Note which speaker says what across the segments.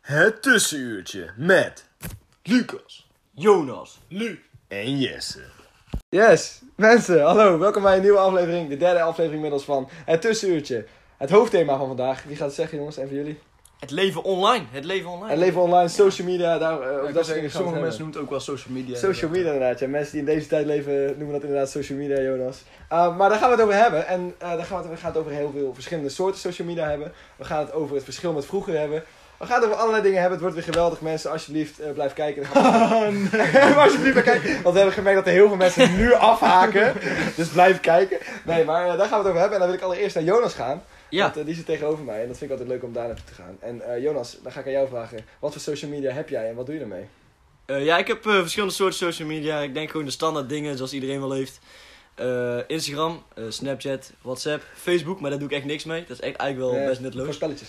Speaker 1: Het tussenuurtje met Lucas,
Speaker 2: Jonas.
Speaker 1: Lu en Jesse.
Speaker 2: Yes, mensen, hallo. Welkom bij een nieuwe aflevering. De derde aflevering inmiddels van Het Tussenuurtje. Het hoofdthema van vandaag. Wie gaat het zeggen, jongens? En voor jullie?
Speaker 3: Het leven online. Het leven online.
Speaker 2: Het leven online, social media. Daar, eh, over
Speaker 3: Ik
Speaker 2: dat
Speaker 3: wil
Speaker 2: soort dingen
Speaker 3: zeggen,
Speaker 2: gaan we
Speaker 3: sommige
Speaker 2: het
Speaker 3: mensen
Speaker 2: hebben.
Speaker 3: noemen het ook wel social media.
Speaker 2: Social media inderdaad. Ja, mensen die in deze tijd leven noemen dat inderdaad social media, Jonas. Eh, maar daar gaan we het over hebben. En eh, daar gaan we, het, we gaan het over heel veel verschillende soorten social media hebben. We gaan het over het verschil met vroeger hebben. We gaan het over allerlei dingen hebben. Het wordt weer geweldig, mensen. Alsjeblieft, eh, blijf kijken. Dan gaan we-
Speaker 3: Oh,
Speaker 2: Maar alsjeblieft, maar kijk, want we hebben gemerkt dat er heel veel mensen nu afhaken. Dus blijf kijken. Nee, maar eh, daar gaan we het over hebben. En dan wil ik allereerst naar Jonas gaan.
Speaker 3: Ja.
Speaker 2: Want eh, die zit tegenover mij. En dat vind ik altijd leuk om daar naartoe te gaan. En eh, Jonas, dan ga ik aan jou vragen. Wat voor social media heb jij en wat doe je ermee?
Speaker 3: Eh, ja, ik heb eh, verschillende soorten social media. Ik denk gewoon de standaard dingen zoals iedereen wel heeft. Eh, Instagram, eh, Snapchat, WhatsApp, Facebook, maar daar doe ik echt niks mee. Dat is echt eigenlijk wel
Speaker 2: Eh,
Speaker 3: Oh, best
Speaker 2: Voor
Speaker 3: nutteloos.
Speaker 2: spelletjes.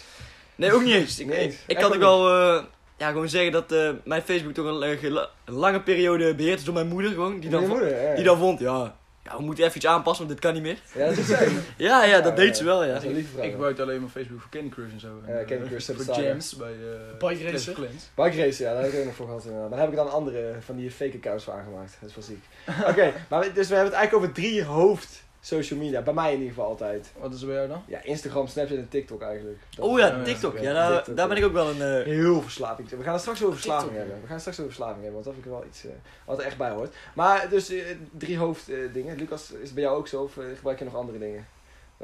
Speaker 3: Nee, ook niet eens. Ik,
Speaker 2: Niet eens.
Speaker 3: ik,
Speaker 2: Echt
Speaker 3: kan
Speaker 2: ook
Speaker 3: ook wel eh, ja, gewoon zeggen dat eh, mijn Facebook toch een, eh, gela- een lange periode beheerd is door mijn moeder. Gewoon, die,
Speaker 2: Van
Speaker 3: dan,
Speaker 2: je
Speaker 3: vo-
Speaker 2: moeder, ja.
Speaker 3: die dan vond, ja, ja, we moeten even iets aanpassen, want dit kan niet meer.
Speaker 2: Ja, dat is zij.
Speaker 3: Ja, ja, dat
Speaker 2: Ja,
Speaker 3: deed
Speaker 2: ja.
Speaker 3: ze wel, ja.
Speaker 2: Dat is een lieve vrouw.
Speaker 4: Ik gebruik alleen maar Facebook voor Candy Crush en zo. En,
Speaker 2: Ja,
Speaker 4: eh,
Speaker 2: Candy Crush,
Speaker 4: Voor
Speaker 2: Substadia.
Speaker 4: jams bij eh
Speaker 5: Bike
Speaker 4: Clash
Speaker 5: racen.
Speaker 4: of Clans.
Speaker 2: Bike race, ja, daar heb ik ook nog voor gehad. inderdaad. Maar daar heb ik dan andere van die fake accounts voor aangemaakt. Dat is wel ziek. Oké, maar we- dus we hebben het eigenlijk over drie hoofd social media. Bij mij in ieder geval altijd.
Speaker 4: Wat is er bij jou dan?
Speaker 2: Ja, Instagram, Snapchat en TikTok eigenlijk. Dat
Speaker 3: Oh
Speaker 2: is-
Speaker 3: ja, TikTok. Ja, daar,
Speaker 2: TikTok,
Speaker 3: daar ben ik ook wel een... eh,
Speaker 2: Heel verslaving. We gaan het straks over verslaving
Speaker 5: TikTok.
Speaker 2: hebben. We gaan het straks over verslaving hebben, want dat vind ik wel iets eh, wat er echt bij hoort. Maar dus eh, drie hoofddingen. Lucas, is het bij jou ook zo of eh, gebruik je nog andere dingen?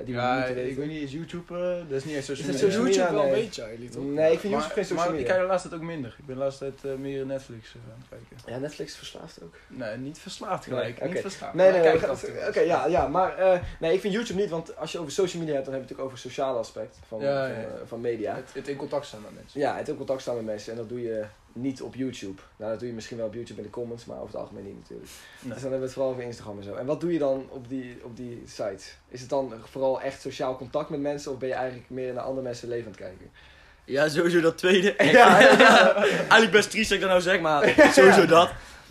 Speaker 2: Die we
Speaker 4: ja,
Speaker 2: moeten
Speaker 4: ik
Speaker 2: weten.
Speaker 4: weet niet, is YouTube, eh, dat is niet echt social
Speaker 2: Is
Speaker 4: media.
Speaker 2: het social media?
Speaker 5: YouTube wel een
Speaker 2: Nee.
Speaker 5: beetje eigenlijk, toch?
Speaker 2: Nee, ik vind YouTube geen
Speaker 4: maar,
Speaker 2: social
Speaker 4: maar ik
Speaker 2: media.
Speaker 4: kijk de laatste tijd ook minder. Ik ben de laatste tijd eh, meer Netflix eh, aan het kijken.
Speaker 2: Ja, Netflix verslaaft ook.
Speaker 4: Nee, niet verslaafd
Speaker 2: Nee,
Speaker 4: gelijk.
Speaker 2: oké.
Speaker 4: Niet verslaafd.
Speaker 2: Nee,
Speaker 4: maar
Speaker 2: nee, nee.
Speaker 4: ik
Speaker 2: we
Speaker 4: kijk
Speaker 2: gaan-
Speaker 4: af en toe
Speaker 2: Oké,
Speaker 4: wel.
Speaker 2: ja, ja. Maar eh, nee, ik vind YouTube niet, want als je over social media hebt, dan heb je natuurlijk over het sociale aspect van,
Speaker 4: Ja,
Speaker 2: van,
Speaker 4: ja, ja.
Speaker 2: eh, van media.
Speaker 4: Het, het in contact staan met mensen.
Speaker 2: Ja, het ook contact staan met mensen en dat doe je niet op YouTube. Nou, dat doe je misschien wel op YouTube in de comments, maar over het algemeen niet natuurlijk.
Speaker 4: Nee.
Speaker 2: Dus dan hebben we het vooral over Instagram en zo. En wat doe je dan op die, op die site? Is het dan vooral echt sociaal contact met mensen of ben je eigenlijk meer naar andere mensen leven aan het kijken?
Speaker 3: Ja, sowieso dat tweede.
Speaker 2: Ja,
Speaker 3: Ja,
Speaker 2: ja,
Speaker 3: Eigenlijk best triest dat ik dat nou zeg, maar sowieso dat.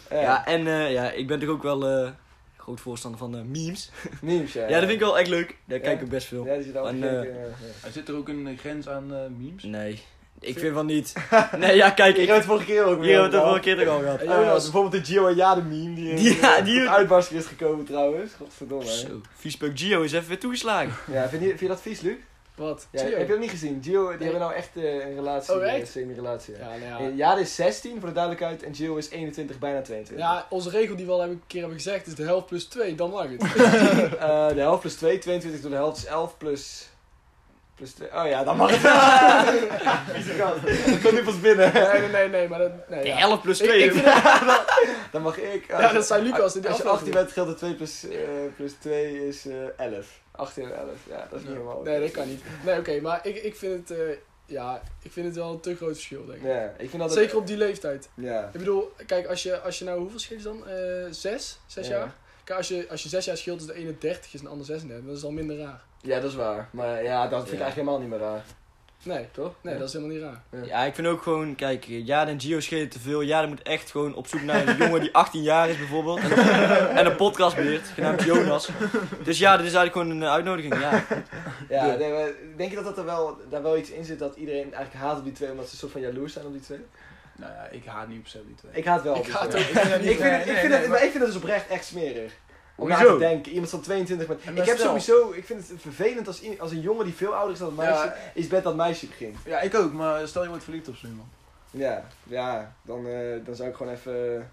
Speaker 2: Eh,
Speaker 3: Ja, en eh, ja, ik ben toch ook wel eh, groot voorstander van eh, memes.
Speaker 2: memes, ja.
Speaker 3: Ja, dat vind ik wel echt leuk. Daar
Speaker 2: Ja.
Speaker 3: kijk ik ook best veel.
Speaker 2: eh. Ja, die zit daar ook
Speaker 3: En,
Speaker 2: te
Speaker 3: eh,
Speaker 2: kijken, ja, ja.
Speaker 4: Er Zit er ook een eh, grens aan eh, memes?
Speaker 3: Nee, ik vind van niet. Nee, ja, kijk,
Speaker 2: Ik
Speaker 3: ik,
Speaker 2: heb het vorige keer ook
Speaker 3: hier
Speaker 2: weer
Speaker 3: hebben we het
Speaker 2: over
Speaker 3: al een keer toch al gehad.
Speaker 2: gehad. Oh, ja, bijvoorbeeld de Gio en Jade meme die,
Speaker 3: Die-
Speaker 2: eh,
Speaker 3: ja, die-
Speaker 2: tot uitbarsting is gekomen trouwens. Godverdomme. hè.
Speaker 3: Zo, viespeuk Gio is even weer toegeslagen.
Speaker 2: Ja, vind je, vind je dat vies, Luc?
Speaker 5: Wat?
Speaker 2: Ja,
Speaker 5: Gio?
Speaker 2: heb je dat niet gezien? Gio, die hebben nou echt eh, een relatie,
Speaker 5: Oh, echt?
Speaker 2: eh, semi-relatie. Ja.
Speaker 5: Ja, nou
Speaker 2: Eh,
Speaker 5: ja.
Speaker 2: Jade is 16 voor de duidelijkheid en Gio is 21, bijna 22.
Speaker 5: ja, onze regel die we al een keer hebben gezegd is de helft plus 2, dan mag het.
Speaker 2: Eh, de helft plus 2, 22 door de helft is 11 plus... Plus 2. Oh ja, dan mag het. Vieze gast. Dat komt nu pas binnen.
Speaker 5: Nee, nee, nee, nee maar dat... Nee,
Speaker 3: Nee,
Speaker 5: ja.
Speaker 3: 11 plus
Speaker 5: Ik-
Speaker 3: 2.
Speaker 5: ik vind het-
Speaker 2: Dan mag ik.
Speaker 5: Ja, dat zijn Lucas in die
Speaker 2: Als je
Speaker 5: aflevering.
Speaker 2: 18 bent, geldt het 2 plus, eh, plus 2 is eh 11. 18 en 11, ja, dat is niet helemaal.
Speaker 5: Nee, dat kan niet. Nee, oké, maar ik, ik vind het... eh, ja, ik vind het wel een te groot verschil, denk ik.
Speaker 2: Ja, ik vind dat
Speaker 5: Zeker op die leeftijd.
Speaker 2: Ja.
Speaker 5: Ik bedoel, kijk, als je, als je nou... Hoeveel scheelt het dan? Eh, zes? Zes
Speaker 2: Ja.
Speaker 5: jaar? Kijk, als je, als je zes jaar scheelt, is de ene 30 is en de ander 36. Dat is al minder raar.
Speaker 2: ja, dat is waar. Maar ja, dat vind ik
Speaker 3: Ja.
Speaker 2: eigenlijk helemaal niet meer raar,
Speaker 5: Nee,
Speaker 2: toch?
Speaker 5: nee, dat is helemaal niet raar.
Speaker 3: Ja, ik vind ook gewoon, kijk, Jade en Gio schelen te veel. Jade moet echt gewoon op zoek naar een jongen die 18 jaar is bijvoorbeeld. En, en een podcast beheert, genaamd Jonas. Dus ja, dit is eigenlijk gewoon een eh, uitnodiging. Ja,
Speaker 2: Ja,
Speaker 3: Ja.
Speaker 2: nee, maar denk je dat, dat er wel, daar wel iets in zit dat iedereen eigenlijk haat op die twee, omdat ze een soort van jaloers zijn op die twee?
Speaker 4: Nou ja, ik haat niet per se die twee.
Speaker 2: Ik haat wel op
Speaker 5: Ik
Speaker 2: die
Speaker 5: haat
Speaker 2: twee.
Speaker 5: ook.
Speaker 2: Ik vind het- ik vind het- maar ik vind dat dus oprecht echt smerig. om na
Speaker 1: Hoezo?
Speaker 2: te denken. Iemand van 22 met...
Speaker 4: En
Speaker 2: Ik heb
Speaker 4: stel-
Speaker 2: sowieso... Ik vind het vervelend als, i- als een jongen die veel ouder is dan een meisje...
Speaker 4: Ja.
Speaker 2: is met dat meisje begint.
Speaker 4: Ja, ik ook, maar stel je wordt verliefd op zo iemand.
Speaker 2: Ja, ja. Dan, eh, dan zou ik gewoon even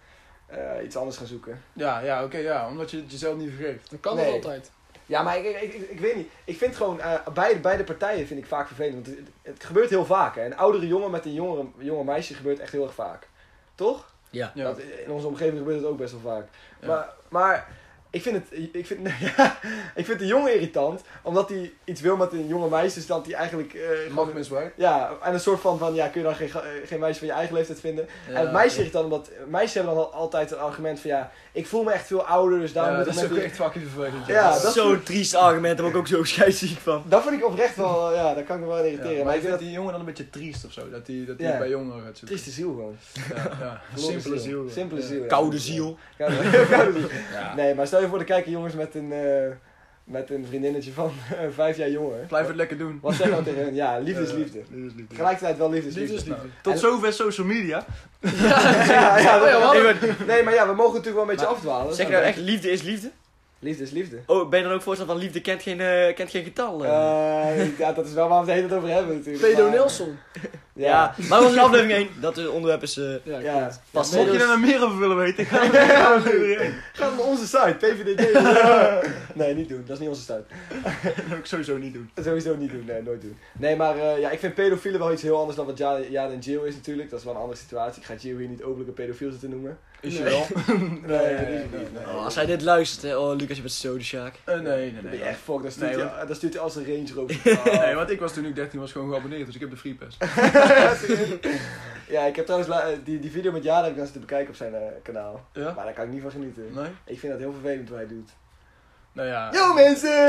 Speaker 2: eh, iets anders gaan zoeken.
Speaker 4: Ja, ja, oké, ja, omdat je het jezelf niet vergeeft.
Speaker 5: Dan kan
Speaker 2: Nee.
Speaker 5: dat altijd.
Speaker 2: Ja, maar ik, ik, ik, ik weet niet. Ik vind gewoon... eh, beide, beide partijen vind ik vaak vervelend. Want het, het gebeurt heel vaak. Hè. Een oudere jongen met een jongere, jonge meisje gebeurt echt heel erg vaak. Toch?
Speaker 5: Ja.
Speaker 4: Ja.
Speaker 2: Dat, in onze omgeving gebeurt het ook best wel vaak.
Speaker 4: Ja.
Speaker 2: Maar, maar ik vind het. Ik vind, ja, ik vind de jongen irritant. Omdat hij iets wil met een jonge meisje. Dus dat hij eigenlijk. eh,
Speaker 4: Mag
Speaker 2: gewoon-
Speaker 4: misbruikt.
Speaker 2: ja, en een soort van, van ja, kun je dan geen, ga- eh, geen meisje van je eigen leeftijd vinden. en het meisje irritant, omdat meisjes hebben dan al- altijd het argument van ja, ik voel me echt veel ouder, dus daarom
Speaker 4: Ja,
Speaker 2: moet
Speaker 4: dat
Speaker 2: ik
Speaker 4: is
Speaker 2: met
Speaker 4: ook
Speaker 2: die-
Speaker 4: echt fucking vervelend.
Speaker 2: Ja, dat-
Speaker 3: Zo'n triest argument, daar word ik ook zo scheidsziek van.
Speaker 2: Dat vind ik oprecht wel, eh, ja, daar kan ik me wel aan
Speaker 4: Ja,
Speaker 2: irriteren.
Speaker 4: maar,
Speaker 2: maar
Speaker 4: ik
Speaker 2: ik
Speaker 4: vind
Speaker 2: vind dat
Speaker 4: die jongen dan een beetje triest of zo, dat hij dat
Speaker 2: Ja.
Speaker 4: die bij jongeren gaat zoeken.
Speaker 2: trieste ziel gewoon.
Speaker 4: Ja, ja.
Speaker 2: Verloren
Speaker 3: ziel.
Speaker 2: Simpele ziel. ja.
Speaker 3: Koude ziel.
Speaker 2: Koude- koude ziel. Nee, maar stel je voor, de kijken jongens met een, eh, met een vriendinnetje van eh, vijf jaar jonger.
Speaker 4: Blijf het lekker doen.
Speaker 2: Wat zeg je dan tegen hun? Ja, liefde is
Speaker 4: Ja.
Speaker 2: liefde.
Speaker 4: Liefde.
Speaker 2: Tegelijkertijd wel liefde is liefde.
Speaker 5: Liefdesliefde.
Speaker 4: Tot
Speaker 2: En-
Speaker 4: zover social media.
Speaker 2: Ja, ja,
Speaker 5: Oh ja, we hadden-
Speaker 2: nee, maar ja, we mogen natuurlijk wel een beetje afdwalen.
Speaker 3: Zeg je nou echt, liefde is liefde?
Speaker 2: Liefde is liefde.
Speaker 3: Oh, ben je dan ook voorstander van liefde kent geen, eh, kent geen getal? eh?
Speaker 2: Eh, ja, dat is wel waar we het hele tijd over hebben natuurlijk.
Speaker 5: Pedo
Speaker 2: maar-
Speaker 5: Nelson.
Speaker 3: ja.
Speaker 2: Ja.
Speaker 3: maar dat was in aflevering 1. Dat eh, onderwerp is... eh,
Speaker 5: Ja,
Speaker 2: Ja.
Speaker 5: klopt.
Speaker 3: Pas
Speaker 4: Mocht je
Speaker 3: dus-
Speaker 4: er nou meer over willen weten, ga dan naar aflevering één.
Speaker 2: Ga naar onze site, pvdd. nee, niet doen. Dat is niet onze site.
Speaker 4: Dat zou ik sowieso niet doen.
Speaker 2: Sowieso niet doen. Nee, nooit doen. Nee, maar eh, ja, ik vind pedofielen wel iets heel anders dan wat Ja- Jade en Jill is natuurlijk. Dat is wel een andere situatie. Ik ga Jill hier niet openlijk een pedofiel zitten noemen.
Speaker 4: Is je
Speaker 5: Nee.
Speaker 4: wel?
Speaker 2: Nee, dat is het niet. Nee.
Speaker 3: oh, als hij dit luistert, hè. oh Lucas, je bent zo de Sjaak.
Speaker 4: Eh, nee, nee,
Speaker 2: Dan ben
Speaker 4: nee.
Speaker 2: je echt fuck. Dan stuurt,
Speaker 4: Nee,
Speaker 2: hij- dan stuurt hij als een Range Rover.
Speaker 4: Nee, want ik was toen ik 13 was gewoon geabonneerd, dus ik heb de free pass.
Speaker 2: ja, ik heb trouwens la- eh, die, die video met Jade heb ik dan zitten bekijken op zijn eh, kanaal.
Speaker 4: Ja?
Speaker 2: Maar daar kan ik niet van genieten.
Speaker 4: Nee?
Speaker 2: Ik vind dat heel vervelend wat hij doet.
Speaker 4: Nou ja.
Speaker 2: Yo mensen!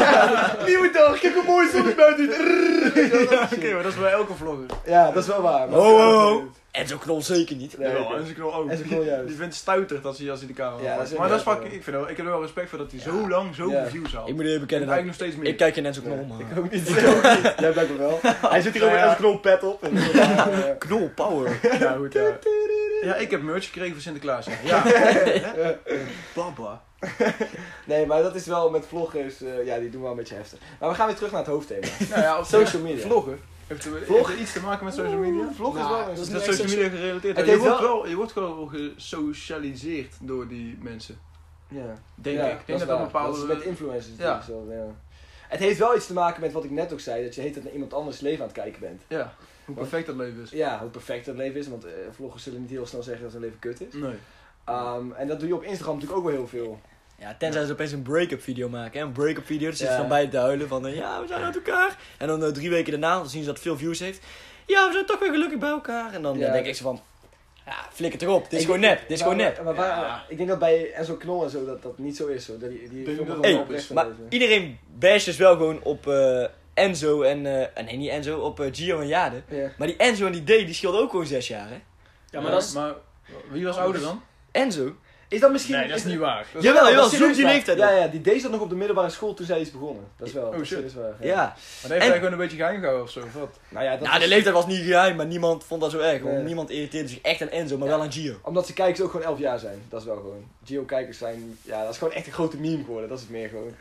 Speaker 2: Nieuwe dag, kijk hoe mooi zonnetje buiten is.
Speaker 4: Ja, Oké, maar dat is bij elke vlogger.
Speaker 2: Ja, dat is wel waar. maar-
Speaker 3: Ho, ho, ho. En zo knol zeker niet.
Speaker 2: Nee,
Speaker 4: Jawel,
Speaker 2: oké.
Speaker 4: Oh, en zijn knol ook.
Speaker 2: En zijn knol juist.
Speaker 4: Die vindt het stuiterd als hij, als hij de camera
Speaker 2: Ja, dat
Speaker 4: pakt.
Speaker 2: is
Speaker 4: Maar dat is
Speaker 2: inderdaad,
Speaker 4: fucking, ik, vind wel, ik heb er wel respect voor dat hij zo lang zoveel
Speaker 2: Ja.
Speaker 4: views had.
Speaker 3: Ik
Speaker 4: Ik
Speaker 3: moet je bekennen dat
Speaker 4: eigenlijk nog steeds meer.
Speaker 3: ik kijk je net zo knol,
Speaker 2: Nee,
Speaker 3: man.
Speaker 2: ik ook niet. Ik ook niet. Jij blijkbaar wel. Hij zit hier ook met
Speaker 4: Ja.
Speaker 2: een knolpet op. En, eh,
Speaker 3: Knol power.
Speaker 4: Ja, goed, ja. ja, ik heb merch gekregen voor Sinterklaas. Ja. ja. Baba.
Speaker 2: nee, maar dat is wel met vloggers, eh, ja, die doen wel een beetje heftig. Maar we gaan weer terug naar het hoofdthema.
Speaker 4: Nou ja, op
Speaker 2: Social media.
Speaker 4: Vloggen. Heeft er, heeft
Speaker 2: Vloggen?
Speaker 4: er iets te maken met social media?
Speaker 2: Vlog is
Speaker 5: Nou,
Speaker 2: wel
Speaker 5: dat
Speaker 2: een...
Speaker 4: Is
Speaker 5: is
Speaker 4: dat
Speaker 5: niet echt
Speaker 4: social media gerelateerd?
Speaker 2: Het
Speaker 4: je,
Speaker 2: heeft
Speaker 4: wordt
Speaker 2: wel-
Speaker 4: wel, je wordt gewoon gesocialiseerd door die mensen.
Speaker 2: Ja.
Speaker 4: Denk
Speaker 2: Ja,
Speaker 4: ik. Ik denk dat
Speaker 2: waar.
Speaker 4: dat bepaalde...
Speaker 2: is met influencers
Speaker 4: Ja.
Speaker 2: natuurlijk zo, ja. Het heeft wel iets te maken met wat ik net ook zei, dat je heet dat naar iemand anders leven aan het kijken bent.
Speaker 4: ja, hoe perfect dat leven is.
Speaker 2: Ja, hoe perfect dat leven is, want eh, vloggers zullen niet heel snel zeggen dat hun leven kut is.
Speaker 4: Nee.
Speaker 2: Ehm, en dat doe je op Instagram natuurlijk ook wel heel veel.
Speaker 3: Ja, tenzij ze opeens een break-up video maken. Hè. Een break-up video, dan zitten ze
Speaker 2: Ja.
Speaker 3: dan bij te huilen van... eh, ja, we zijn uit elkaar. En dan eh, drie weken daarna, dan zien ze dat het veel views heeft. Ja, we zijn toch weer gelukkig bij elkaar. En dan eh,
Speaker 2: Ja.
Speaker 3: denk ik zo van... Ja, flikker toch op. Dit is
Speaker 2: Ik- Nou, eh,
Speaker 3: gewoon nep. Dit is
Speaker 2: maar-
Speaker 3: gewoon nep.
Speaker 2: maar waar-
Speaker 4: Ja.
Speaker 2: ik denk dat bij Enzo Knol en zo dat dat niet zo is. Hoor. Dat die, die
Speaker 4: Denk
Speaker 2: filmen
Speaker 4: dat
Speaker 2: gewoon
Speaker 3: het
Speaker 2: oprecht
Speaker 4: is,
Speaker 2: van
Speaker 3: Maar
Speaker 2: leven.
Speaker 3: iedereen basht dus wel gewoon op eh, Enzo en... eh, nee, niet Enzo. Op eh, Gio en Jade.
Speaker 2: Ja.
Speaker 3: Maar die Enzo en die D, die scheelden ook gewoon zes jaar, hè.
Speaker 5: Ja, maar dat is...
Speaker 4: Maar wie was ouder dan?
Speaker 3: Enzo?
Speaker 2: Is dat misschien...
Speaker 4: waar. Dat is-
Speaker 3: Jawel, jawel.
Speaker 2: dat is
Speaker 3: Zoek die
Speaker 2: serieus
Speaker 3: leeftijd
Speaker 2: waar.
Speaker 3: op.
Speaker 2: Ja, ja, die deed dat nog op de middelbare school toen zij is begonnen. Dat is wel.
Speaker 4: Oh,
Speaker 2: dat is
Speaker 4: shit.
Speaker 2: serieus waar, ja.
Speaker 3: Ja.
Speaker 4: Maar heeft
Speaker 3: En-
Speaker 4: hij gewoon een beetje geheim gehouden of zo, of wat?
Speaker 2: Nou ja, dat
Speaker 3: Nou, de
Speaker 2: is-
Speaker 3: leeftijd was niet geheim, maar niemand vond dat zo erg. want
Speaker 2: Nee.
Speaker 3: Niemand irriteerde zich echt aan Enzo, maar
Speaker 2: Ja.
Speaker 3: wel aan Gio.
Speaker 2: Omdat ze kijkers ook gewoon 11 jaar zijn. Dat is wel gewoon. Gio-kijkers zijn... Ja, dat is gewoon echt een grote meme geworden. Dat is het meer gewoon.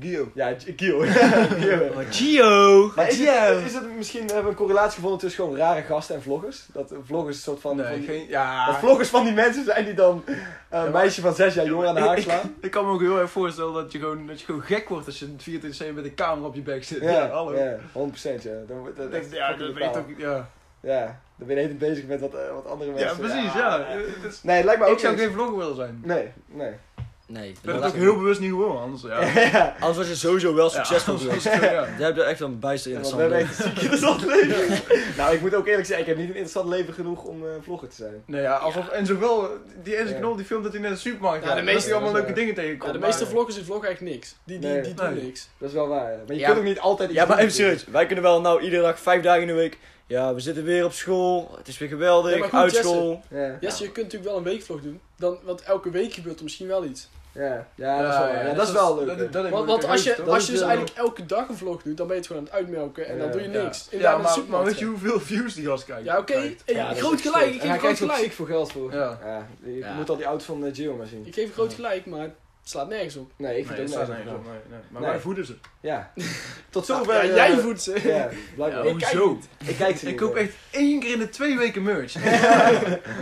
Speaker 4: Gio.
Speaker 2: Ja, G- Gio. Oh, Gio.
Speaker 3: Maar Gio!
Speaker 2: Maar is
Speaker 3: Gio!
Speaker 2: het, is het misschien... Hebben we een correlatie gevonden tussen gewoon rare gasten en vloggers? Dat eh, vloggers een soort van... van
Speaker 4: Nee,
Speaker 2: die-
Speaker 4: geen...
Speaker 2: Dat
Speaker 4: Ja...
Speaker 2: vloggers van die mensen zijn die dan eh, een meisje van 6 jaar jonger aan de haak slaan.
Speaker 4: Ik kan me ook heel erg voorstellen dat je gewoon, dat je gewoon gek wordt als je 24 met een camera op je bek zit. Ja, hallo.
Speaker 2: Ja, 100% ja. Dan, wordt- dat,
Speaker 4: Dat- ja, dat weet
Speaker 2: weet
Speaker 4: ik ook. Ja,
Speaker 2: Ja, dan ben je de hele tijd bezig met wat, eh, wat andere mensen.
Speaker 4: ja precies, ja. Het is-
Speaker 2: Nee, het lijkt me ook
Speaker 4: Ik zou
Speaker 2: niks.
Speaker 4: geen vlogger willen zijn. Ik
Speaker 2: Nee, nee.
Speaker 3: Nee,
Speaker 4: ben het
Speaker 3: dat-
Speaker 4: ook heel bewust niet geworden, anders ja.
Speaker 2: Ja,
Speaker 3: Anders was je sowieso wel
Speaker 4: Ja,
Speaker 3: succesvol
Speaker 4: anders
Speaker 3: geweest.
Speaker 4: was het, ja.
Speaker 3: Jij hebt er echt een bijster
Speaker 2: want we
Speaker 3: interessant
Speaker 2: hebben
Speaker 3: leven.
Speaker 2: echt een ziek interessant leven. nou, ik moet ook eerlijk zeggen, ik heb niet een interessant leven genoeg om eh, vlogger te zijn.
Speaker 4: Nee, ja, alsof Enzo wel, die Enzo
Speaker 2: Ja.
Speaker 4: Knol die filmt dat hij naar de supermarkt
Speaker 5: Ja,
Speaker 4: gaat. en
Speaker 5: de meeste-
Speaker 4: dat hij allemaal
Speaker 2: dat is
Speaker 4: leuke
Speaker 2: waar.
Speaker 4: dingen tegenkomt.
Speaker 5: Ja, de meeste
Speaker 4: maar-
Speaker 5: vloggers die vloggen echt niks. Die, die,
Speaker 2: Nee.
Speaker 5: die doen
Speaker 4: Nee.
Speaker 5: niks.
Speaker 2: Dat is wel waar. ja. Maar je
Speaker 3: Ja,
Speaker 2: kunt ook niet altijd iets
Speaker 3: Ja, maar
Speaker 2: doen
Speaker 3: even serieus. Wij kunnen wel nou iedere dag, vijf dagen in de week... Ja, we zitten weer op school. Het is weer geweldig.
Speaker 5: Ja, maar goed,
Speaker 3: uit
Speaker 5: Jesse.
Speaker 3: school.
Speaker 2: natuurlijk. Ja,
Speaker 5: Yes, je kunt natuurlijk wel een weekvlog doen. Dan, want elke week gebeurt er misschien wel iets.
Speaker 2: ja, ja, dat is wel, waar. ja, dat is
Speaker 4: dat-
Speaker 2: wel leuk. hè.
Speaker 4: dat- dat heeft
Speaker 5: Want,
Speaker 4: me ook
Speaker 5: want als, je,
Speaker 4: gegeven, toch?
Speaker 5: als je
Speaker 2: is
Speaker 5: dus
Speaker 2: wel-
Speaker 5: eigenlijk elke dag een vlog doet, dan ben je het gewoon aan het uitmelken en dan
Speaker 2: Ja,
Speaker 5: doe je
Speaker 4: Ja.
Speaker 5: niks.
Speaker 4: Ja,
Speaker 5: En daar in de
Speaker 4: maar, maar
Speaker 5: supermarkt
Speaker 4: weet je hoeveel views die gast kijkt?
Speaker 5: Ja, oké.
Speaker 4: kijkt?
Speaker 5: Hey,
Speaker 2: Ja, dat is
Speaker 5: groot
Speaker 2: echt
Speaker 5: gelijk.
Speaker 2: absurd.
Speaker 5: Ik
Speaker 2: En
Speaker 5: geef
Speaker 2: hij
Speaker 5: groot
Speaker 2: krijgt ook
Speaker 5: gelijk.
Speaker 2: ziek voor geld voor.
Speaker 4: Ja.
Speaker 2: Ja, je
Speaker 3: Ja.
Speaker 2: moet al die auto van eh, Gio maar zien.
Speaker 5: Ik geef groot gelijk, maar Het slaat nergens op.
Speaker 2: Nee, ik
Speaker 4: Nee,
Speaker 2: vind
Speaker 4: dat
Speaker 2: het
Speaker 4: staat
Speaker 2: ook nergens
Speaker 4: nergens op.
Speaker 2: op.
Speaker 4: Nee, nee. Maar
Speaker 2: Nee.
Speaker 4: wij voeden ze.
Speaker 2: Ja. Tot
Speaker 5: Ja,
Speaker 2: zover. eh,
Speaker 5: jij voedt ze.
Speaker 2: Ja, blijkbaar.
Speaker 4: Ja,
Speaker 2: Ik,
Speaker 4: hoezo?
Speaker 2: ik kijk ze
Speaker 4: Ik
Speaker 2: niet
Speaker 4: koop
Speaker 2: meer.
Speaker 4: echt één keer in de twee weken merch.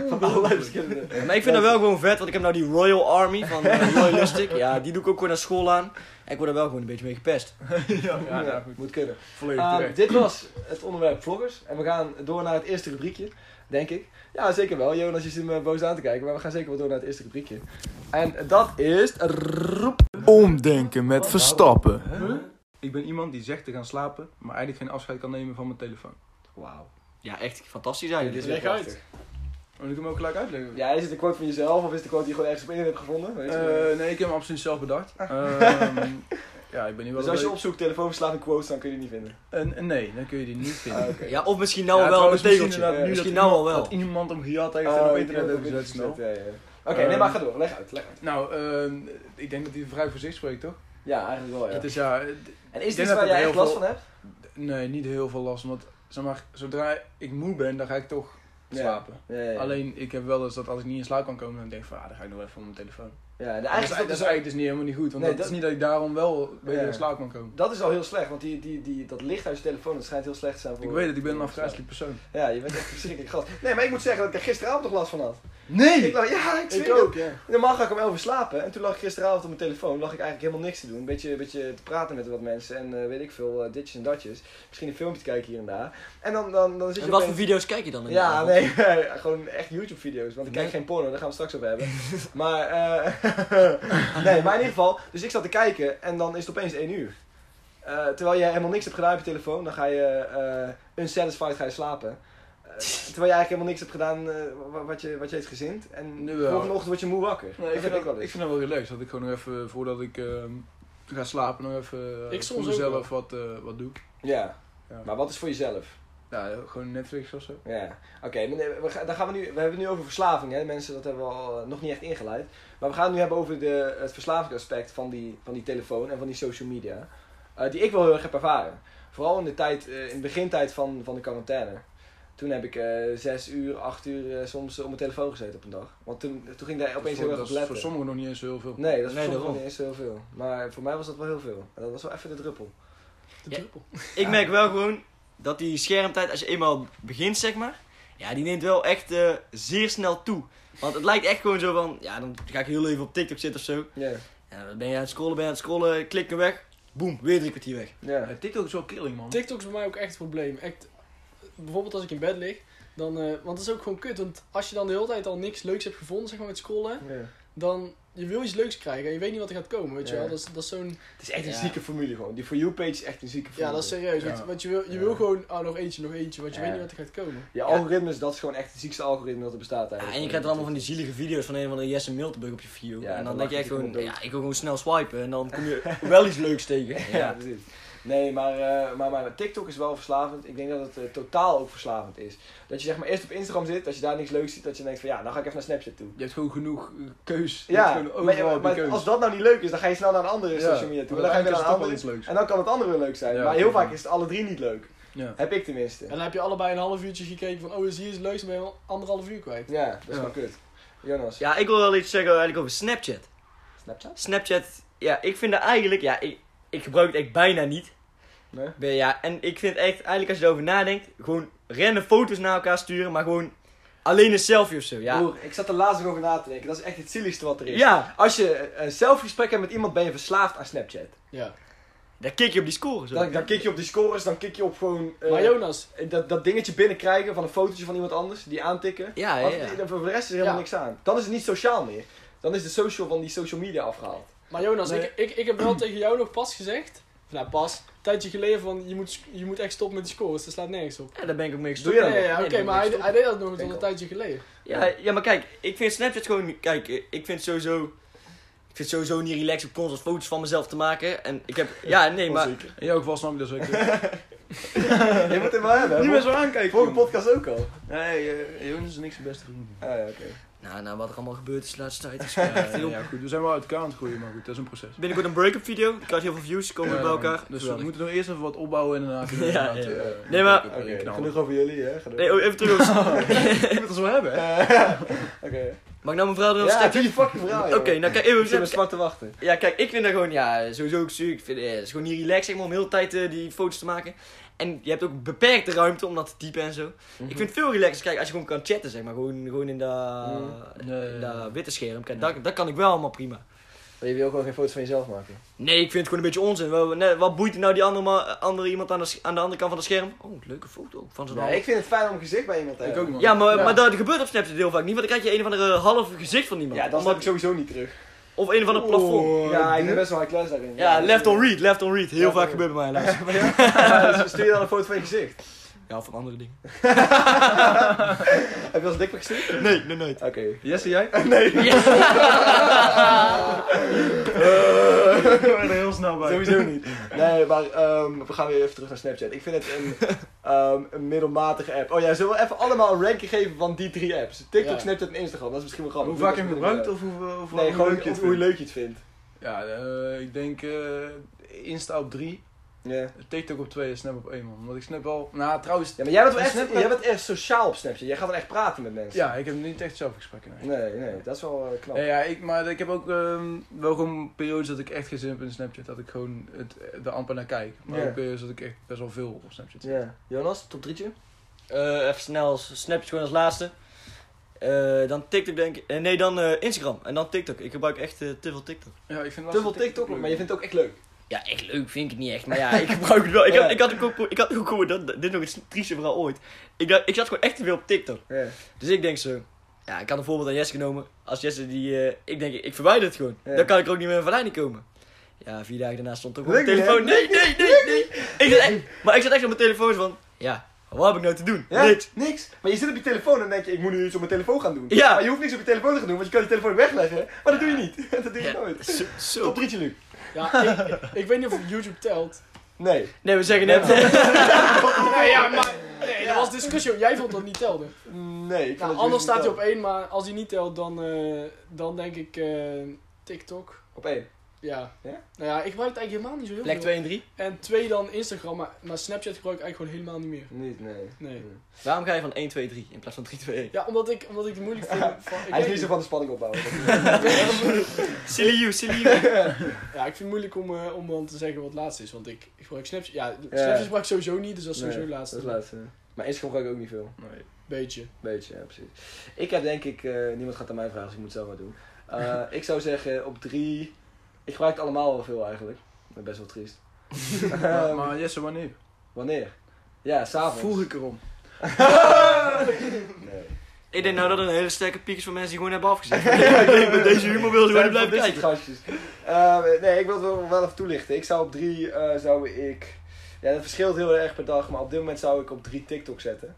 Speaker 2: van allerlei verschillende.
Speaker 3: Maar ik vind dat wel gewoon vet, want ik heb nou die Royal Army van eh, Royalistic. Ja, die doe ik ook gewoon naar school aan. En ik word er wel gewoon een beetje mee gepest.
Speaker 4: ja, Ah,
Speaker 2: Ja,
Speaker 4: nou goed.
Speaker 2: moet kunnen.
Speaker 4: Volledig
Speaker 2: Ehm,
Speaker 4: terecht.
Speaker 2: dit was het onderwerp vloggers. En we gaan door naar het eerste rubriekje, denk ik. Ja, zeker wel. Jonas, je zit me boos aan te kijken. Maar we gaan zeker wel door naar het eerste rubriekje. En dat is...
Speaker 1: Omdenken met Verstappen.
Speaker 4: Ik ben iemand die zegt te gaan slapen, maar eigenlijk geen afscheid kan nemen van mijn telefoon.
Speaker 2: Wauw.
Speaker 3: Ja, echt fantastisch eigenlijk.
Speaker 5: Leg uit.
Speaker 4: Moet ik hem ook gelijk uitleggen?
Speaker 2: Ja, is het een quote van jezelf? Of is het een quote die je gewoon ergens op internet hebt gevonden? Weet je?
Speaker 4: Eh, nee, ik heb hem absoluut zelf bedacht. Ehm, ja, ik ben nu wel
Speaker 2: dus als je
Speaker 4: een
Speaker 2: opzoekt telefoonverslaving quotes, dan kun je die niet vinden.
Speaker 4: beetje- een- een nee, dan kun je die niet vinden.
Speaker 2: oké.
Speaker 3: Ja, of misschien nou
Speaker 4: Ja,
Speaker 3: wel
Speaker 4: trouwens,
Speaker 3: een tegeltje.
Speaker 4: Misschien, inderdaad
Speaker 3: Misschien,
Speaker 4: nu dat
Speaker 3: nou al
Speaker 4: iemand-
Speaker 3: wel.
Speaker 4: Dat iemand hem gejat heeft en
Speaker 2: Oh,
Speaker 4: op
Speaker 2: ik
Speaker 4: internet
Speaker 2: heb
Speaker 4: heeft
Speaker 2: het
Speaker 4: gezet snel.
Speaker 2: gezet, ja, ja. Oké, nee, maar ga door. Leg uit, leg uit.
Speaker 4: Nou, ehm, ik denk dat hij vrij voor zich spreekt, toch?
Speaker 2: Ja, eigenlijk wel, ja.
Speaker 4: Het is ja... eh,
Speaker 2: En is dit
Speaker 4: Ik denk dat
Speaker 2: waar
Speaker 4: het
Speaker 2: jij
Speaker 4: heel
Speaker 2: echt last
Speaker 4: veel-
Speaker 2: van hebt?
Speaker 4: d- Nee, niet heel veel last, want zeg maar, zodra ik moe ben, dan ga ik toch
Speaker 2: Ja.
Speaker 4: slapen.
Speaker 2: Ja, ja, ja.
Speaker 4: Alleen, ik heb wel eens dat als ik niet in slaap kan komen, dan denk ik van, ah, dan ga ik nog even op mijn telefoon.
Speaker 2: Ja, en
Speaker 4: Dat is, dat
Speaker 2: eigenlijk
Speaker 4: is eigenlijk dus niet helemaal niet goed, want
Speaker 2: Nee,
Speaker 4: dat,
Speaker 2: dat-
Speaker 4: is niet dat ik daarom wel een beetje
Speaker 2: Ja.
Speaker 4: in slaap kan komen.
Speaker 2: Dat is al heel slecht, want die, die, die, dat licht uit je telefoon dat schijnt heel slecht te zijn voor...
Speaker 4: Ik weet het, ik ben een afgrijzelijk persoon.
Speaker 2: Ja, je bent echt een verschrikkelijk gast. Nee, maar ik moet zeggen dat ik er gisteravond nog last van had. Ik
Speaker 4: Nee!
Speaker 2: lag, ja, ik
Speaker 5: Ik
Speaker 2: zweer het.
Speaker 5: ook, ja.
Speaker 2: Normaal ga ik om 11 uur slapen en toen lag ik gisteravond op mijn telefoon. lag ik eigenlijk helemaal niks te doen. Een beetje, een beetje te praten met wat mensen en eh, weet ik veel, eh, ditjes en datjes. Misschien een filmpje te kijken hier en daar. En dan, dan, dan zit Dus je
Speaker 3: En wat voor
Speaker 2: opeens-
Speaker 3: video's kijk je dan? in de
Speaker 2: Ja,
Speaker 3: avond?
Speaker 2: nee, gewoon echt YouTube-video's. Want ik kijk
Speaker 3: Nee.
Speaker 2: geen porno, daar gaan we straks over hebben. Maar, eh nee, maar in ieder geval. Dus ik zat te kijken en dan is het opeens 1 uur. Eh, terwijl je helemaal niks hebt gedaan op je telefoon, dan ga je eh unsatisfied ga je slapen. Eh, terwijl je eigenlijk helemaal niks hebt gedaan eh, wa- wat, je, wat je heeft gezind. En
Speaker 4: Nu wel.
Speaker 2: volgende ochtend word je moe wakker.
Speaker 4: Nee, ik,
Speaker 2: dat
Speaker 4: vind
Speaker 2: heb ik
Speaker 4: dat,
Speaker 2: wel
Speaker 4: ik
Speaker 2: eens.
Speaker 4: vind dat wel relaxed, dat ik gewoon nog even, voordat ik ehm, ga slapen, nog even eh,
Speaker 5: Ik soms
Speaker 4: voor
Speaker 5: ook
Speaker 4: mezelf wat, eh, wat doe.
Speaker 2: Ja.
Speaker 4: Ja.
Speaker 2: maar wat is voor jezelf?
Speaker 4: Ja, gewoon Netflix of zo.
Speaker 2: Ja, oké. maar nee, we, gaan- dan gaan we, nu, we hebben het nu over verslaving, hè. Mensen, dat hebben we al, eh, nog niet echt ingeleid. Maar we gaan het nu hebben over de, het verslavingsaspect van die, van die telefoon en van die social media. Eh, die ik wel heel erg heb ervaren. Vooral in de, tijd, eh, in de begintijd van, van de quarantaine. Toen heb ik eh zes uur, acht uur eh, soms eh, op mijn telefoon gezeten op een dag. Want toen, toen ging ik daar opeens
Speaker 4: dat is voor,
Speaker 2: heel erg
Speaker 4: dat
Speaker 2: op
Speaker 4: is voor
Speaker 2: letten.
Speaker 4: sommigen nog niet eens heel veel.
Speaker 2: Nee, dat is
Speaker 3: Nee,
Speaker 2: voor sommigen
Speaker 3: daarom.
Speaker 2: niet eens heel veel. Maar voor mij was dat wel heel veel. En dat was wel even de druppel.
Speaker 5: De
Speaker 3: Ja.
Speaker 5: druppel.
Speaker 3: Ik merk wel gewoon dat die schermtijd, als je eenmaal begint, zeg maar, ja, die neemt wel echt eh, zeer snel toe. Want het lijkt echt gewoon zo van, ja, dan ga ik heel even op TikTok zitten of zo.
Speaker 2: Ja,
Speaker 3: En dan ben je aan het scrollen, ben je aan het scrollen, klik hem weg, boem, weer drie kwartier weg.
Speaker 2: ja.
Speaker 4: Ja, TikTok is wel killing, man.
Speaker 5: TikTok is voor mij ook echt een probleem. Echt, bijvoorbeeld als ik in bed lig, dan, eh, want dat is ook gewoon kut. Want als je dan de hele tijd al niks leuks hebt gevonden, zeg maar met scrollen,
Speaker 2: Ja.
Speaker 5: dan je wil iets leuks krijgen en je weet niet wat er gaat komen, weet je
Speaker 2: Ja.
Speaker 5: wel. Dat is, dat is zo'n,
Speaker 2: Het is echt een
Speaker 3: Ja.
Speaker 2: zieke formule gewoon. Die For You-page is echt een zieke formule.
Speaker 5: ja, dat is serieus.
Speaker 4: Ja.
Speaker 5: Want, want je wil, je
Speaker 2: Ja.
Speaker 5: wil gewoon, oh nog eentje, nog eentje, want je
Speaker 2: Ja.
Speaker 5: weet niet wat er gaat komen.
Speaker 2: Je algoritmes, dat is gewoon echt het ziekste algoritme dat er bestaat
Speaker 3: Ja,
Speaker 2: eigenlijk.
Speaker 3: en je krijgt er allemaal van die zielige video's van een van de Jesse Miltenburg op je view.
Speaker 2: Ja,
Speaker 3: en
Speaker 2: dan
Speaker 3: dan denk je
Speaker 2: lach
Speaker 3: echt
Speaker 2: je
Speaker 3: gewoon,
Speaker 2: gewoon dood.
Speaker 3: ja, ik wil gewoon snel swipen en dan kom je wel iets leuks tegen.
Speaker 2: Ja, precies. Nee, maar, eh, maar, maar TikTok is wel verslavend. Ik denk dat het eh, totaal ook verslavend is. Dat je zeg maar eerst op Instagram zit, als je daar niks leuks ziet, dat je denkt van ja, nou ga ik even naar Snapchat toe.
Speaker 4: Je hebt gewoon genoeg eh, keus. Je hebt
Speaker 2: Ja,
Speaker 4: gewoon
Speaker 2: maar,
Speaker 4: overal heb je
Speaker 2: maar
Speaker 4: keus.
Speaker 2: als dat nou niet leuk is, dan ga je snel naar een andere
Speaker 4: Ja,
Speaker 2: social media toe.
Speaker 4: maar
Speaker 2: Dan ga je weer
Speaker 4: uiteindelijk
Speaker 2: naar een
Speaker 4: is het dus toch wel
Speaker 2: andere.
Speaker 4: iets leuks.
Speaker 2: En dan kan het andere weer leuk zijn.
Speaker 4: Ja,
Speaker 2: maar heel
Speaker 4: oké.
Speaker 2: vaak is het alle drie niet leuk.
Speaker 4: Ja.
Speaker 2: Heb ik tenminste.
Speaker 5: En dan heb je allebei een half uurtje gekeken van, oh is hier iets leuks, dan ben je wel anderhalf uur kwijt.
Speaker 2: Ja, dat is
Speaker 4: Ja.
Speaker 2: gewoon kut. Jonas,
Speaker 3: Ja, ik wil wel iets zeggen eigenlijk over Snapchat.
Speaker 2: Snapchat?
Speaker 3: Snapchat, ja, ik vind dat eigenlijk, ja, ik, ik gebruik het echt bijna niet.
Speaker 2: Nee?
Speaker 3: Ben- Ja, en ik vind echt, eigenlijk als je erover nadenkt, gewoon random foto's naar elkaar sturen, maar gewoon alleen een selfie of zo, ja.
Speaker 2: Broer, ik zat er laatst nog over na te denken. Dat is echt het zieligste wat er is.
Speaker 3: Ja,
Speaker 2: Als je eh, een selfie-gesprek hebt met iemand, ben je verslaafd aan Snapchat.
Speaker 5: Ja.
Speaker 3: dan kik je op die scores. hoor.
Speaker 2: Dan, dan kik je op die scores, dan kik je op gewoon eh,
Speaker 5: Maar Jonas,
Speaker 2: dat, dat dingetje binnenkrijgen van een fotootje van iemand anders, die aantikken.
Speaker 3: Ja, ja,
Speaker 2: Want
Speaker 3: ja.
Speaker 2: eh, voor de rest is er helemaal
Speaker 5: Ja.
Speaker 2: niks aan. Dan is het niet sociaal meer. Dan is de social van die social media afgehaald.
Speaker 5: Maar Jonas,
Speaker 4: Nee.
Speaker 5: ik, ik, ik heb wel tegen jou nog pas gezegd. Of Nou, pas. Een tijdje geleden van je moet, sc- je moet echt stoppen met die scores. Dat slaat nergens op.
Speaker 3: Ja, daar ben ik ook mee gestopt.
Speaker 2: Doe je
Speaker 5: Ja,
Speaker 2: dat
Speaker 5: ja,
Speaker 2: nog?
Speaker 5: ja,
Speaker 3: Nee,
Speaker 5: oké,
Speaker 3: dat
Speaker 5: maar
Speaker 3: moet
Speaker 5: hij,
Speaker 3: ik
Speaker 5: hij deed dat nog tot
Speaker 2: Denk
Speaker 5: een
Speaker 2: al.
Speaker 5: tijdje geleden.
Speaker 3: Ja, ja, maar kijk, ik vind Snapchat gewoon, kijk, eh, ik vind sowieso, ik vind sowieso niet relaxed om constant foto's van mezelf te maken. En ik heb, ja, nee, maar,
Speaker 2: Onzeker.
Speaker 4: In jouw geval snap ik eh, dat zeker.
Speaker 2: Je moet hem wel hebben. hè?
Speaker 4: zo aankijken.
Speaker 2: Vorige podcast ook al.
Speaker 4: Nee, eh, Jonas is niks zijn beste vriend.
Speaker 2: Ah, ja, oké.
Speaker 3: nou, nou, wat er allemaal gebeurd is de laatste tijd. is
Speaker 4: Ja,
Speaker 3: echt heel-
Speaker 4: ja, goed. We zijn wel uit elkaar aan het groeien, maar goed, dat is een proces.
Speaker 3: Binnenkort een break-up video, ik krijg heel veel views, komen we bij elkaar.
Speaker 4: Dus we
Speaker 3: Geweldig.
Speaker 4: moeten nog eerst even wat opbouwen en daarna kunnen we
Speaker 3: Ja,
Speaker 4: inderdaad,
Speaker 2: ja.
Speaker 4: eh,
Speaker 3: Nee, maar-
Speaker 4: een
Speaker 2: Oké,
Speaker 4: knallen.
Speaker 3: oh
Speaker 2: genoeg over jullie, hè? Genoeg.
Speaker 3: Nee, oh, even terug over
Speaker 4: Je moet het zo hebben, hè?
Speaker 2: Eh, oké.
Speaker 3: Mag ik nou mijn verhaal erin
Speaker 2: Ja, doe
Speaker 3: ontstrekken?
Speaker 2: je fucking verhaal,
Speaker 3: Oké,
Speaker 2: jongen.
Speaker 3: nou kijk,
Speaker 2: Ik zit met
Speaker 3: even,
Speaker 2: zwart te wachten.
Speaker 3: Ja, kijk, ik vind dat gewoon, ja, sowieso ook zuur. Ik vind eh, het is gewoon niet relaxed zeg maar, om de hele tijd eh, die foto's te maken. En je hebt ook beperkte ruimte om dat te typen en zo.
Speaker 2: Mhm.
Speaker 3: Ik vind het veel relaxed, kijk, als je gewoon kan chatten, zeg maar. Gewoon, gewoon in dat
Speaker 2: Mhm.
Speaker 4: Nee.
Speaker 3: in dat witte scherm. Kijk, dat, dat kan ik wel allemaal prima.
Speaker 2: Maar je wil ook wel geen foto's van jezelf maken.
Speaker 3: Nee, ik vind het gewoon een beetje onzin. Wat, nee, wat boeit het nou die andere, ma- andere iemand aan de, s- aan de andere kant van het scherm? Oh, leuke foto van zijn hand.
Speaker 2: Nee, ik vind het fijn om een gezicht bij iemand te
Speaker 4: Ik
Speaker 2: hebben.
Speaker 4: ook, man.
Speaker 3: Ja, maar,
Speaker 5: Ja.
Speaker 3: maar dat gebeurt op Snapchat heel vaak niet, want dan krijg je een of andere half gezicht van iemand.
Speaker 2: Ja, dat snap
Speaker 3: Omdat-
Speaker 2: ik sowieso niet terug.
Speaker 3: Of een of ander plafond.
Speaker 6: Oh,
Speaker 2: Ja, ik ben best wel high class daarin.
Speaker 3: Ja, left on read, left on read. Heel
Speaker 2: Ja,
Speaker 3: vaak
Speaker 2: ja.
Speaker 3: gebeurt bij mij, luister.
Speaker 2: Ja, dus Stuur je dan een foto van je gezicht?
Speaker 3: Ja, van andere dingen.
Speaker 2: Heb je wel eens dikpik gestuurd?
Speaker 3: Nee, nee, nooit.
Speaker 2: Oké.
Speaker 4: Jesse, jij?
Speaker 6: Ik ben er heel snel bij.
Speaker 2: Eh. Sowieso niet. Nee, maar ehm, we gaan weer even terug naar Snapchat. Ik vind het een, ehm, een middelmatige app. Oh ja, zullen we even allemaal een ranking geven van die drie apps? TikTok,
Speaker 5: Ja.
Speaker 2: Snapchat en Instagram. Dat is misschien wel grappig.
Speaker 6: Hoe vaak je
Speaker 2: Doe
Speaker 6: hem
Speaker 2: dat
Speaker 6: gebruikt
Speaker 2: even,
Speaker 6: of hoe, hoe,
Speaker 2: eh, Nee,
Speaker 6: hoe
Speaker 2: gewoon
Speaker 6: leuk je
Speaker 2: hoe,
Speaker 6: het
Speaker 2: hoe
Speaker 6: vindt?
Speaker 2: leuk je het vindt.
Speaker 4: Ja, eh, ik denk eh, Insta op 3,
Speaker 2: Ja.
Speaker 4: TikTok op 2 en Snap op 1, man. Want ik snap wel... Nou, trouwens...
Speaker 2: Ja, maar jij bent, wel echt,
Speaker 4: Snapchat-
Speaker 2: jij bent echt sociaal op Snapchat. Jij gaat dan echt praten met mensen.
Speaker 4: Ja, ik heb niet echt zelf gesprekken. nee.
Speaker 2: Nee, nee, dat is wel eh, knap.
Speaker 4: Ja, ja, ik, maar ik heb ook ehm, wel gewoon periodes dat ik echt geen zin heb in Snapchat. Dat ik gewoon het, er amper naar kijk. Maar
Speaker 2: Ja.
Speaker 4: ook periodes dat ik echt best wel veel op Snapchat zit.
Speaker 2: Ja. Jonas, top drietje?
Speaker 3: Eh, even snel, Snapchat gewoon als laatste. Eh, dan TikTok denk ik. eh, nee, dan eh, Instagram en dan TikTok. Ik gebruik echt eh, te veel TikTok.
Speaker 4: Ja, ik vind wel
Speaker 2: Te veel
Speaker 4: eens
Speaker 2: TikTok, maar je vindt het ook echt leuk.
Speaker 3: Ja, echt leuk vind ik het niet echt. Maar ja, ik gebruik het wel. Ik had,
Speaker 2: Ja.
Speaker 3: ik had ook ook, ik had ook gehoord, dat, dit is nog het trieste verhaal ooit. Ik, dacht- ik zat gewoon echt te veel op TikTok.
Speaker 2: Ja.
Speaker 3: Dus ik denk zo. Ja, ik had een voorbeeld aan Jesse genomen. Als Jesse die. eh, ik denk, ik verwijder het gewoon.
Speaker 2: Ja.
Speaker 3: Dan kan ik er ook niet meer van lijn komen. Ja, vier dagen daarna stond ook op mijn
Speaker 2: Lukt niet,
Speaker 3: telefoon. Nee, nee, nee, nee. Ik zat echt, maar ik zat echt op mijn telefoon van. Ja, wat heb ik nou te doen?
Speaker 2: Ja,
Speaker 3: Niks.
Speaker 2: niks. Maar je zit op je telefoon en denk je, ik moet nu iets op mijn telefoon gaan doen.
Speaker 3: Ja.
Speaker 2: Maar je hoeft niks op je telefoon te gaan doen, want je kan je telefoon wegleggen. Maar dat doe je niet. Dat doe je
Speaker 3: Ja,
Speaker 2: nooit.
Speaker 3: Zo,
Speaker 2: Top
Speaker 3: zo.
Speaker 2: drietje, Luc.
Speaker 5: Ja, ik, ik weet niet of YouTube telt.
Speaker 2: Nee.
Speaker 3: Nee, we zeggen net. eh,
Speaker 5: Nee, ja, maar... Nee, dat was discussie. Jij vond dat niet telde.
Speaker 2: Nee, ik
Speaker 5: Nou, anders staat hij op één, maar als hij niet telt, dan, eh, dan denk ik eh, TikTok.
Speaker 2: Op één.
Speaker 5: Ja.
Speaker 2: Ja?
Speaker 5: Nou ja, ik gebruik het eigenlijk helemaal niet zo heel
Speaker 3: Plek
Speaker 5: veel.
Speaker 3: 2 en 3.
Speaker 5: En twee dan Instagram, maar, maar Snapchat gebruik ik eigenlijk gewoon helemaal niet meer.
Speaker 2: Niet, nee.
Speaker 5: Nee.
Speaker 3: Waarom ga je van 1, 2, 3 in plaats van 3, 2, 1?
Speaker 5: Ja, omdat ik, omdat ik het moeilijk vind. Van, ik
Speaker 2: Hij is niet
Speaker 5: weet
Speaker 2: zo
Speaker 5: niet.
Speaker 2: van de spanning opbouwen.
Speaker 3: Silly you, silly you.
Speaker 5: Ja, ik vind het moeilijk om, eh, om dan te zeggen wat het laatste is. Want ik, ik gebruik Snapchat. Ja,
Speaker 2: Ja.
Speaker 5: Snapchat gebruik ik sowieso niet, dus dat is sowieso het laatste.
Speaker 2: Dat is het laatste. Maar Instagram gebruik ik ook niet veel.
Speaker 4: Nee.
Speaker 5: Beetje.
Speaker 2: Beetje, ja, precies. Ik heb denk ik, eh, niemand gaat aan mij vragen, dus ik moet het zelf maar doen. Eh, ik zou zeggen op drie. Ik gebruik het allemaal wel veel eigenlijk. Ik ben best wel triest.
Speaker 4: Maar,
Speaker 2: Ehm,
Speaker 4: maar Jesse, wanneer?
Speaker 2: wanneer? Ja, s'avonds.
Speaker 4: Vroeg ik erom.
Speaker 2: Nee.
Speaker 3: Ik denk nou dat er een hele sterke piek is van mensen die gewoon hebben afgezet. ik denk, met deze humor wil ze gewoon niet blijven
Speaker 2: Dit
Speaker 3: kijken.
Speaker 2: soort gastjes. Eh, nee, ik wil het wel, wel even toelichten. Ik zou op drie, eh, zou ik... Ja, dat verschilt heel erg per dag, maar op dit moment zou ik op drie TikTok zetten.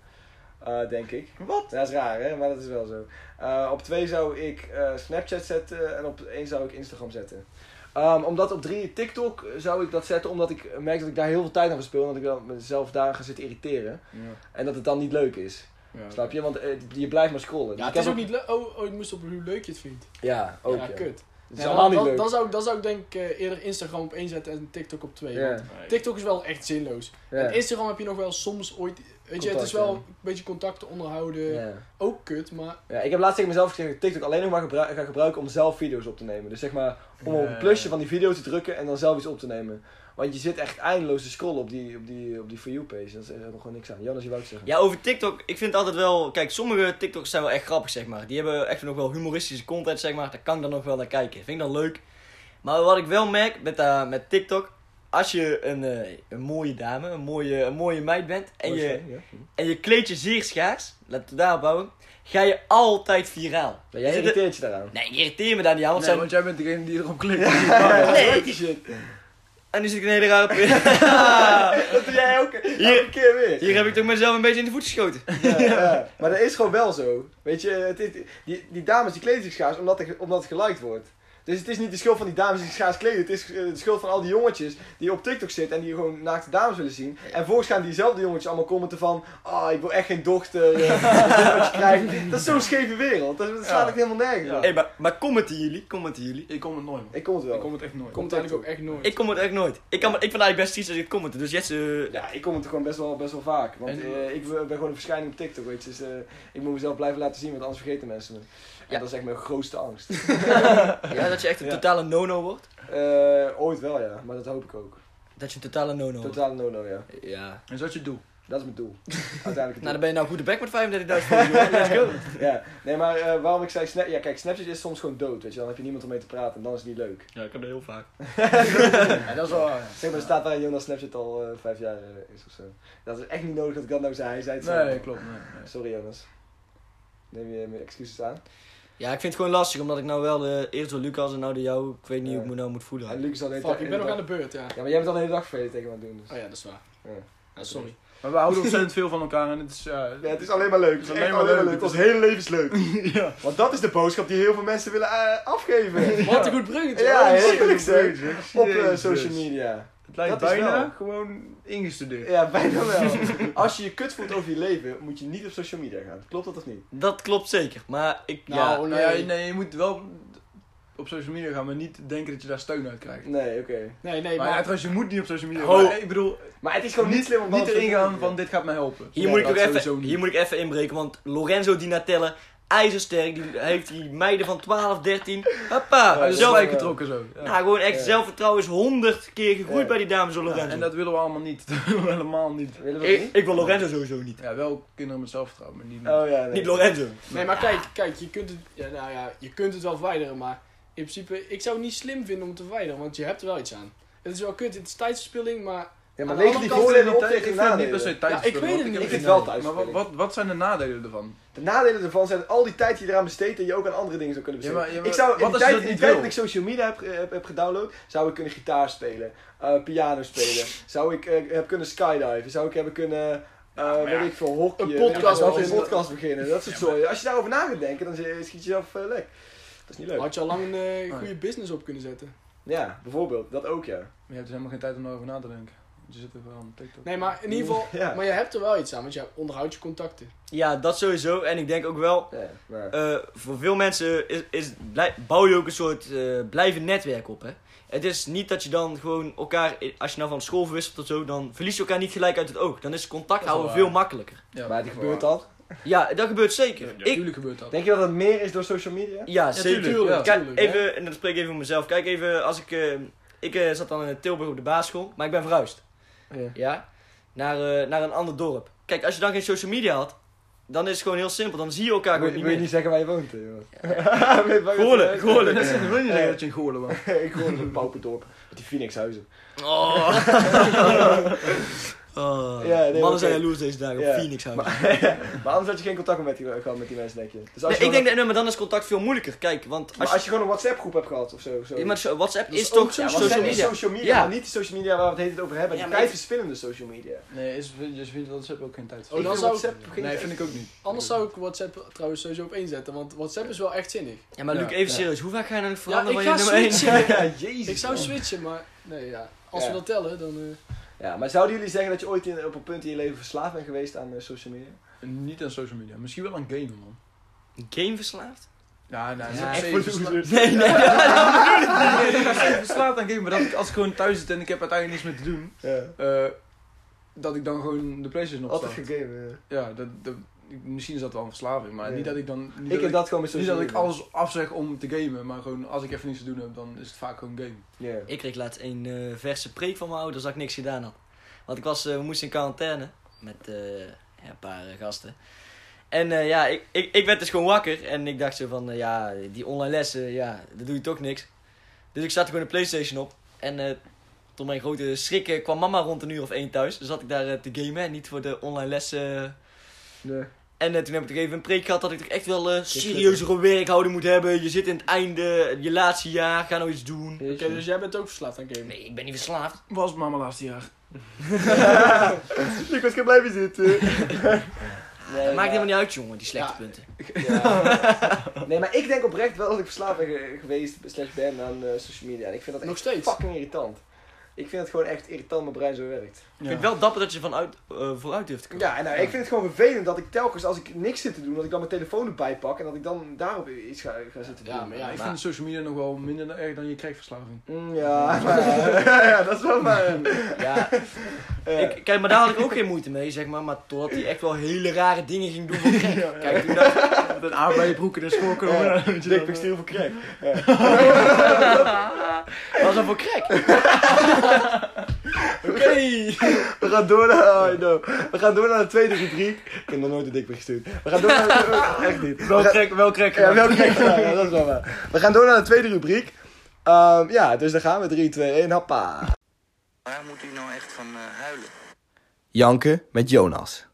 Speaker 2: Eh, denk ik. Wat? Dat is raar, hè? Maar dat is wel zo. Eh, op twee zou ik eh, Snapchat zetten en op één zou ik Instagram zetten. Ehm, omdat op drie TikTok zou ik dat zetten, omdat ik merk dat ik daar heel veel tijd aan verspil. En dat ik dan mezelf daar ga zitten irriteren.
Speaker 4: Ja.
Speaker 2: En dat het dan niet leuk is.
Speaker 4: Ja,
Speaker 2: Snap je? Want eh, je blijft maar scrollen.
Speaker 5: Ja,
Speaker 2: Ik
Speaker 5: het
Speaker 2: heb
Speaker 5: is ook niet leuk. Oh, oh, ik moest op hoe leuk je het vindt.
Speaker 2: Ja, ook.
Speaker 5: ja,
Speaker 2: ja.
Speaker 5: kut.
Speaker 2: Het is
Speaker 5: Ja,
Speaker 2: allemaal
Speaker 5: dan,
Speaker 2: niet
Speaker 5: dan,
Speaker 2: leuk.
Speaker 5: dan zou, ik- dan zou ik denk eh, eerder Instagram op één zetten en TikTok op twee.
Speaker 2: Ja,
Speaker 5: want TikTok is wel echt zinloos.
Speaker 2: ja.
Speaker 5: En Instagram heb je nog wel soms ooit... Weet je, het
Speaker 2: Contact,
Speaker 5: is wel
Speaker 2: ja.
Speaker 5: een beetje contacten onderhouden.
Speaker 2: Ja.
Speaker 5: Ook kut, maar...
Speaker 2: Ja, ik heb laatst tegen mezelf gezegd dat ik TikTok alleen nog maar gebru- ga gebruiken om zelf video's op te nemen. Dus zeg maar, om op
Speaker 4: Ja.
Speaker 2: een plusje van die video te drukken en dan zelf iets op te nemen. Want je zit echt eindeloos te scrollen op die, op die, op die For You-page. Dat is helemaal gewoon niks aan. Jonas, je wou het zeggen.
Speaker 3: Ja, over TikTok. Ik vind altijd wel. Kijk, sommige TikToks zijn wel echt grappig, zeg maar. Die hebben echt nog wel humoristische content, zeg maar. Daar kan ik dan nog wel naar kijken. Vind ik dan leuk. Maar wat ik wel merk met, eh, met TikTok. Als je een, eh, een mooie dame, een mooie, een mooie meid bent. En je,
Speaker 2: Ja.
Speaker 3: en je kleed je zeer schaars. Laten we daarop houden. Ga je altijd viraal.
Speaker 2: Maar jij
Speaker 3: Zit er-
Speaker 2: irriteert je daaraan.
Speaker 3: Nee, ik irriteer me daar niet aan. Want
Speaker 4: Nee,
Speaker 3: zijn...
Speaker 4: want jij bent degene die erop klikt.
Speaker 3: Nee.
Speaker 2: Die shit.
Speaker 3: En nu zit ik een hele rare... pri-
Speaker 2: Dat doe jij ook
Speaker 3: Hier-
Speaker 2: elke keer weer.
Speaker 3: Hier heb ik toch mezelf een beetje in de voet geschoten.
Speaker 2: Ja, ja. Maar dat is gewoon wel zo. Weet je, het is- die, die dames die kleden zich schaars omdat, er- omdat het geliked wordt. Dus het is niet de schuld van die dames die zich schaars kleden. Het is eh, de schuld van al die jongetjes die op TikTok zitten en die gewoon naakte dames willen zien. En vervolgens gaan diezelfde jongetjes allemaal commenten van... Ah, ik wil echt geen dochter. eh, ik wil wat je krijgt." Dat is zo'n scheve wereld. Dat, dat slaat
Speaker 4: Ja.
Speaker 2: ik helemaal nergens
Speaker 4: Ja.
Speaker 2: op.
Speaker 3: Hey, maar, maar commenten jullie, commenten jullie.
Speaker 4: Ik kom het nooit, man.
Speaker 2: Ik kom het wel.
Speaker 4: Ik kom het echt nooit.
Speaker 5: Komt eigenlijk ook echt nooit.
Speaker 3: Ik kom het echt nooit. Ik, kan, ik vind eigenlijk best iets als ik commenten. Dus Jets, eh,
Speaker 2: Ja, ik kom het gewoon best wel, best wel vaak. Want
Speaker 4: En-
Speaker 2: eh, ik ben gewoon een verschijning op TikTok, weet je. Dus eh, ik moet mezelf blijven laten zien, want anders vergeten mensen me. En
Speaker 3: Ja.
Speaker 2: dat is echt mijn grootste angst.
Speaker 3: ja, dat je echt een
Speaker 2: Ja.
Speaker 3: totale no-no wordt.
Speaker 2: Eh, ooit wel, ja. Maar dat hoop ik ook.
Speaker 3: Dat je een totale no-no wordt.
Speaker 2: Totaal no-no, ja.
Speaker 3: Ja.
Speaker 4: Is dat je doel?
Speaker 2: Dat is mijn doel. Uiteindelijk het
Speaker 3: Nou, dan
Speaker 2: doel.
Speaker 3: ben je nou goed de bek met 35.000 volgers, hoor. Let's go.
Speaker 2: Ja. Nee, maar eh, waarom ik zei... Snap ja, kijk, Snapchat is soms gewoon dood, weet je. Dan heb je niemand om mee te praten en dan is het niet leuk.
Speaker 3: Ja, ik heb dat heel vaak.
Speaker 5: Ja, dat is wel... waar.
Speaker 2: Zeg maar, er staat daar Jonas Snapchat al eh, vijf jaar eh, is of zo. Dat is echt niet nodig dat ik dat nou zei. Hij zei het zelf.
Speaker 4: klopt. Nee, nee.
Speaker 2: Sorry, Jonas. Neem je mijn excuses aan.
Speaker 3: Ja, ik vind het gewoon lastig, omdat ik nou wel de, eerst door Lucas en nou door jou. Ik weet niet
Speaker 2: Ja.
Speaker 3: hoe ik me nou moet
Speaker 2: En
Speaker 3: voelen.
Speaker 2: Lucas al de hele
Speaker 5: Fuck,
Speaker 2: dag-
Speaker 5: ik ben nog
Speaker 2: hele
Speaker 5: aan de beurt, ja.
Speaker 2: dag- Ja, maar jij bent al de hele dag verder tegen me aan het doen. Dus.
Speaker 5: Oh ja, dat is waar.
Speaker 2: Ja.
Speaker 5: Ja, sorry.
Speaker 4: Maar we houden ontzettend veel van elkaar en het is... eh,
Speaker 2: Ja, het is alleen maar leuk.
Speaker 4: Het
Speaker 2: Het
Speaker 4: is
Speaker 2: is alleen maar leuk. Het is hele levensleuk.
Speaker 4: ja.
Speaker 2: Want dat is de boodschap die heel veel mensen willen eh, afgeven.
Speaker 5: Wat een goed bruggetje.
Speaker 2: Ja,
Speaker 5: hoor.
Speaker 2: heel leuk zeg.
Speaker 4: Jezus.
Speaker 2: Oh, Op eh, social media.
Speaker 4: Het lijkt
Speaker 2: Dat is
Speaker 4: bijna
Speaker 2: wel.
Speaker 4: gewoon ingestudeerd.
Speaker 2: Ja, bijna wel. Als je je kut voelt over je leven, moet je niet op social media gaan. Klopt dat of niet?
Speaker 3: Dat klopt zeker, maar ik... ja.
Speaker 5: Nou,
Speaker 4: Nou,
Speaker 5: nee.
Speaker 4: ja, nee, je moet wel op social media gaan, maar niet denken dat je daar steun uit krijgt.
Speaker 2: Nee, oké.
Speaker 5: Nee, nee,
Speaker 4: maar ja,
Speaker 5: maar...
Speaker 4: trouwens, je moet niet op social media.
Speaker 3: Ho.
Speaker 4: Maar, ik bedoel,
Speaker 2: Maar het is gewoon niet slim om
Speaker 4: niet
Speaker 2: dan op
Speaker 4: erin
Speaker 2: social
Speaker 4: gaan
Speaker 2: media-
Speaker 4: van dit gaat mij helpen.
Speaker 3: Hier,
Speaker 2: Ja,
Speaker 3: moet ik
Speaker 4: dat
Speaker 3: ook even,
Speaker 4: sowieso niet.
Speaker 3: hier moet ik even inbreken, want Lorenzo Di Natelle, ijzersterk, die heeft die meiden van 12, 13. Hoppa,
Speaker 4: Hij is
Speaker 3: zelf,
Speaker 4: gelijk getrokken zo. Ja.
Speaker 3: nou, gewoon echt
Speaker 2: Ja.
Speaker 3: zelfvertrouwen is 100 keer gegroeid
Speaker 2: Ja.
Speaker 3: bij die dames van
Speaker 4: Ja,
Speaker 3: Lorenzo.
Speaker 4: en dat willen we allemaal niet. Dat willen we helemaal niet.
Speaker 2: Willen we dat
Speaker 3: ik,
Speaker 2: niet?
Speaker 3: ik wil Lorenzo sowieso niet.
Speaker 4: Ja, wel kinderen met zelfvertrouwen, maar niet
Speaker 2: Oh ja, nee.
Speaker 3: Niet Lorenzo.
Speaker 5: Nee, maar kijk, kijk, je kunt het... Ja, nou ja, je kunt het wel verwijderen, maar... In principe, ik zou het niet slim vinden om te verwijderen, want je hebt er wel iets aan. Het is wel kut, het is tijdsverspilling, maar...
Speaker 2: Ja,
Speaker 5: Aan
Speaker 2: maar
Speaker 5: de
Speaker 2: leeg
Speaker 5: andere
Speaker 2: die
Speaker 5: kant
Speaker 2: voordelen op
Speaker 4: Ik
Speaker 2: tegen
Speaker 4: vind
Speaker 2: de
Speaker 4: het niet per
Speaker 2: nadelen.
Speaker 4: se tijd.
Speaker 5: Ja, ik weet het niet.
Speaker 2: Ik
Speaker 4: Ik
Speaker 2: vind
Speaker 4: vind
Speaker 2: het wel
Speaker 4: Maar wat,
Speaker 2: thuis.
Speaker 4: wat, wat zijn de nadelen ervan?
Speaker 2: De nadelen ervan zijn al die tijd die je eraan besteedt en je ook aan andere dingen zou kunnen
Speaker 4: Ja,
Speaker 2: besteden.
Speaker 4: maar- ja, maar
Speaker 2: ik zou
Speaker 4: wat
Speaker 2: in
Speaker 4: als
Speaker 2: de
Speaker 4: je
Speaker 2: tijd,
Speaker 4: dat
Speaker 2: in de
Speaker 4: niet
Speaker 2: tijd
Speaker 4: wil?
Speaker 2: dat ik social media heb, eh, heb, heb gedownload, zou ik kunnen gitaar spelen, eh, piano spelen, zou ik eh, heb kunnen skydiven, zou ik hebben kunnen, eh, weet ik veel, hockey,
Speaker 5: Een podcast
Speaker 2: of een
Speaker 5: beginnen.
Speaker 2: podcast beginnen, dat soort zooi. Als je daarover na gaat denken, dan zie- schiet je zelf eh, lek. Dat is niet leuk.
Speaker 5: Had je al lang een eh, goede business op kunnen zetten.
Speaker 2: Ja, bijvoorbeeld, dat ook ja.
Speaker 4: Je hebt dus helemaal geen tijd om daarover na te denken. Want Je zit er wel aan TikTok.
Speaker 5: Nee, maar in ieder geval...
Speaker 2: Ja.
Speaker 5: Maar je hebt er wel iets aan, want je onderhoudt je contacten.
Speaker 3: Ja, dat sowieso. En ik denk ook wel,
Speaker 2: ja maar-
Speaker 3: eh, voor veel mensen is, is, blij- bouw je ook een soort eh blijvend netwerk op. Hè? Het is niet dat je dan gewoon elkaar, als je nou van school verwisselt of zo, dan verlies je elkaar niet gelijk uit het oog. Dan is contact
Speaker 4: Dat is wel
Speaker 3: houden
Speaker 4: waar.
Speaker 3: veel makkelijker.
Speaker 4: Ja,
Speaker 2: maar
Speaker 4: dat
Speaker 2: die
Speaker 4: is
Speaker 2: gebeurt
Speaker 4: wel
Speaker 2: dat.
Speaker 3: Ja, dat gebeurt
Speaker 4: waar.
Speaker 3: zeker.
Speaker 4: Ja,
Speaker 3: ik,
Speaker 4: Tuurlijk gebeurt dat.
Speaker 2: Denk je dat het meer is door social media?
Speaker 3: ja,
Speaker 4: Ja,
Speaker 3: zeker.
Speaker 4: tuurlijk, ja.
Speaker 3: Kijk,
Speaker 5: Tuurlijk, hè?
Speaker 3: even, en dan spreek ik even voor mezelf. Kijk even, als ik, eh, ik eh, zat dan in Tilburg op de basisschool, maar ik ben verhuisd.
Speaker 2: Ja.
Speaker 3: Naar, eh, naar een ander dorp. Kijk, als je dan geen social media had, dan is het gewoon heel simpel. Dan zie je elkaar
Speaker 2: Wil
Speaker 3: gewoon
Speaker 2: wil je
Speaker 3: niet meer.
Speaker 2: niet zeggen waar je woont, hè, jongen? Weet je waar je-
Speaker 3: Goorlijk, goorlijk. Eh,
Speaker 4: Dat wil niet zeggen dat je een goorle was.
Speaker 2: Ik woon in een pauperdorp, met die Phoenixhuizen.
Speaker 3: Oh. oh.
Speaker 2: Ja, nee,
Speaker 3: Mannen
Speaker 2: oké.
Speaker 3: zijn jaloers deze dagen
Speaker 2: Ja.
Speaker 3: op Phoenix House.
Speaker 2: Maar anders had je geen contact met die, gehad met die mensen, denk je? Dus als
Speaker 3: Nee,
Speaker 2: je
Speaker 3: ik
Speaker 2: gewoon
Speaker 3: denk dat, nee, maar dan is contact veel moeilijker. Kijk, want
Speaker 2: een-
Speaker 3: als
Speaker 2: maar
Speaker 3: je,
Speaker 2: als je gewoon een WhatsApp groep hebt gehad of zo. zo.
Speaker 3: ja, maar zo- WhatsApp
Speaker 5: Dat is
Speaker 3: is toch
Speaker 5: ook
Speaker 3: social,
Speaker 5: social
Speaker 2: WhatsApp is
Speaker 3: media.
Speaker 2: social media,
Speaker 3: Ja.
Speaker 2: maar niet de social media waar we het hele tijd over hebben.
Speaker 3: Ja,
Speaker 2: die
Speaker 3: maar
Speaker 2: tijd verschillende social media.
Speaker 4: Nee, is, je vindt dat ze ook geen tijd
Speaker 5: Oh,
Speaker 4: voor.
Speaker 2: Ik
Speaker 5: dan
Speaker 2: vind
Speaker 5: zou ik-
Speaker 2: WhatsApp geen
Speaker 4: Nee, vind ik ook niet.
Speaker 5: Anders zou ik WhatsApp trouwens sowieso op één zetten, want WhatsApp is wel echt zinnig.
Speaker 3: Ja, maar Luc,
Speaker 4: Ja.
Speaker 3: even
Speaker 2: Ja.
Speaker 3: serieus. Hoe vaak ga je nou
Speaker 5: Ja, ik
Speaker 3: veranderen van
Speaker 5: ga
Speaker 3: je nummer 1?
Speaker 5: switchen.
Speaker 2: Ja, jezus.
Speaker 5: Ik zou
Speaker 2: man.
Speaker 5: switchen, maar nee, ja. Als
Speaker 2: Ja.
Speaker 5: we dat tellen, dan... eh,
Speaker 2: Ja, maar zouden jullie zeggen dat je ooit in, op een punt in je leven verslaafd bent geweest aan eh, social media?
Speaker 4: Niet aan social media. Misschien wel aan gamen, man.
Speaker 3: Game verslaafd?
Speaker 4: Ja, nou, nee,
Speaker 5: Ja,
Speaker 4: niet per se
Speaker 2: Echt
Speaker 4: versla-
Speaker 2: losers.
Speaker 3: Nee, nee.
Speaker 4: Nee, niet per se verslaafd aan gamen, maar dat ik als ik gewoon thuis zit en ik heb uiteindelijk niks meer te doen,
Speaker 2: Ja.
Speaker 4: eh, dat ik dan gewoon de PlayStation
Speaker 2: Altijd
Speaker 4: opsta.
Speaker 2: gegamen. ja.
Speaker 4: Ja, dat, dat, ik- misschien is dat wel een verslaving, maar
Speaker 2: Ja.
Speaker 4: niet dat ik dan... Niet
Speaker 2: Ik heb
Speaker 4: dat, dus
Speaker 2: dat gewoon met
Speaker 4: ik- niet
Speaker 2: social
Speaker 4: dat ik
Speaker 2: media.
Speaker 4: alles afzeg om te gamen, maar gewoon als ik even niks te doen heb, dan is het vaak gewoon game.
Speaker 2: Ja.
Speaker 3: Ik kreeg laatst een eh, verse preek van mijn ouders dat ik niks gedaan had. Want ik was, eh, we moesten in quarantaine met eh, ja, een paar eh, gasten. En eh, ja, ik, ik, ik werd dus gewoon wakker en ik dacht zo van, eh, ja, die online lessen, ja, daar doe je toch niks. Dus ik zette gewoon de Playstation op en eh, tot mijn grote schrik eh, kwam mama rond een uur of één thuis. Dus zat ik daar eh, te gamen en niet voor de online lessen...
Speaker 2: Nee.
Speaker 3: En eh, toen heb ik toch even een preek gehad dat ik toch echt wel eh, serieuzer op werkhouding moet hebben. Je zit in het einde, je laatste jaar, ga nou iets doen.
Speaker 5: Oké, dus jij bent ook verslaafd aan gamen.
Speaker 3: Nee, ik ben niet verslaafd.
Speaker 4: Was het maar mijn laatste jaar.
Speaker 2: Ik was gaan blijven zitten.
Speaker 3: dat maakt helemaal niet uit, jongen, die slechte
Speaker 5: Ja.
Speaker 3: punten.
Speaker 2: Nee, maar ik denk oprecht wel dat ik verslaafd ben ge- geweest slash ben aan eh, social media. En ik vind dat
Speaker 5: Nog
Speaker 2: echt
Speaker 5: steeds.
Speaker 2: fucking irritant. Ik vind het gewoon echt irritant mijn brein zo werkt.
Speaker 3: Ik vind het wel dapper dat je vanuit, eh, vooruit durft te komen.
Speaker 2: Ja, en nou, ik vind het gewoon vervelend dat ik telkens als ik niks zit te doen, dat ik dan mijn telefoon erbij pak en dat ik dan daarop iets ga, ga zitten doen.
Speaker 5: Ja, maar ja,
Speaker 4: ik
Speaker 3: maar-
Speaker 4: vind social media nog wel minder erg dan je crackverslaving.
Speaker 2: Mm, ja, maar- ja, dat is wel maar...
Speaker 3: Ja. Ik, kijk, maar daar had ik ook geen moeite mee, zeg maar. Maar totdat hij echt wel hele rare dingen ging doen voor gek. Kijk, toen dacht ik,
Speaker 4: Met een aard bij je broek in de school komen. weet je
Speaker 2: Dik
Speaker 4: dan, eh.
Speaker 2: voor crack.
Speaker 3: was dat voor gek?
Speaker 2: Oké! We gaan door naar... I know. We gaan door naar de tweede rubriek. Ik heb nog nooit een dikpik gestuurd. We gaan door naar... Echt niet. We
Speaker 4: Wel
Speaker 2: gaan-
Speaker 4: crack, wel crack.
Speaker 2: Ja, wel crack. Ja, ja, dat is wel waar. We gaan door naar de tweede rubriek. Ehm, ja, dus daar gaan we. 3, 2, 1, hoppa.
Speaker 6: Waar moet u nou echt van eh, huilen?
Speaker 2: Janken met Jonas.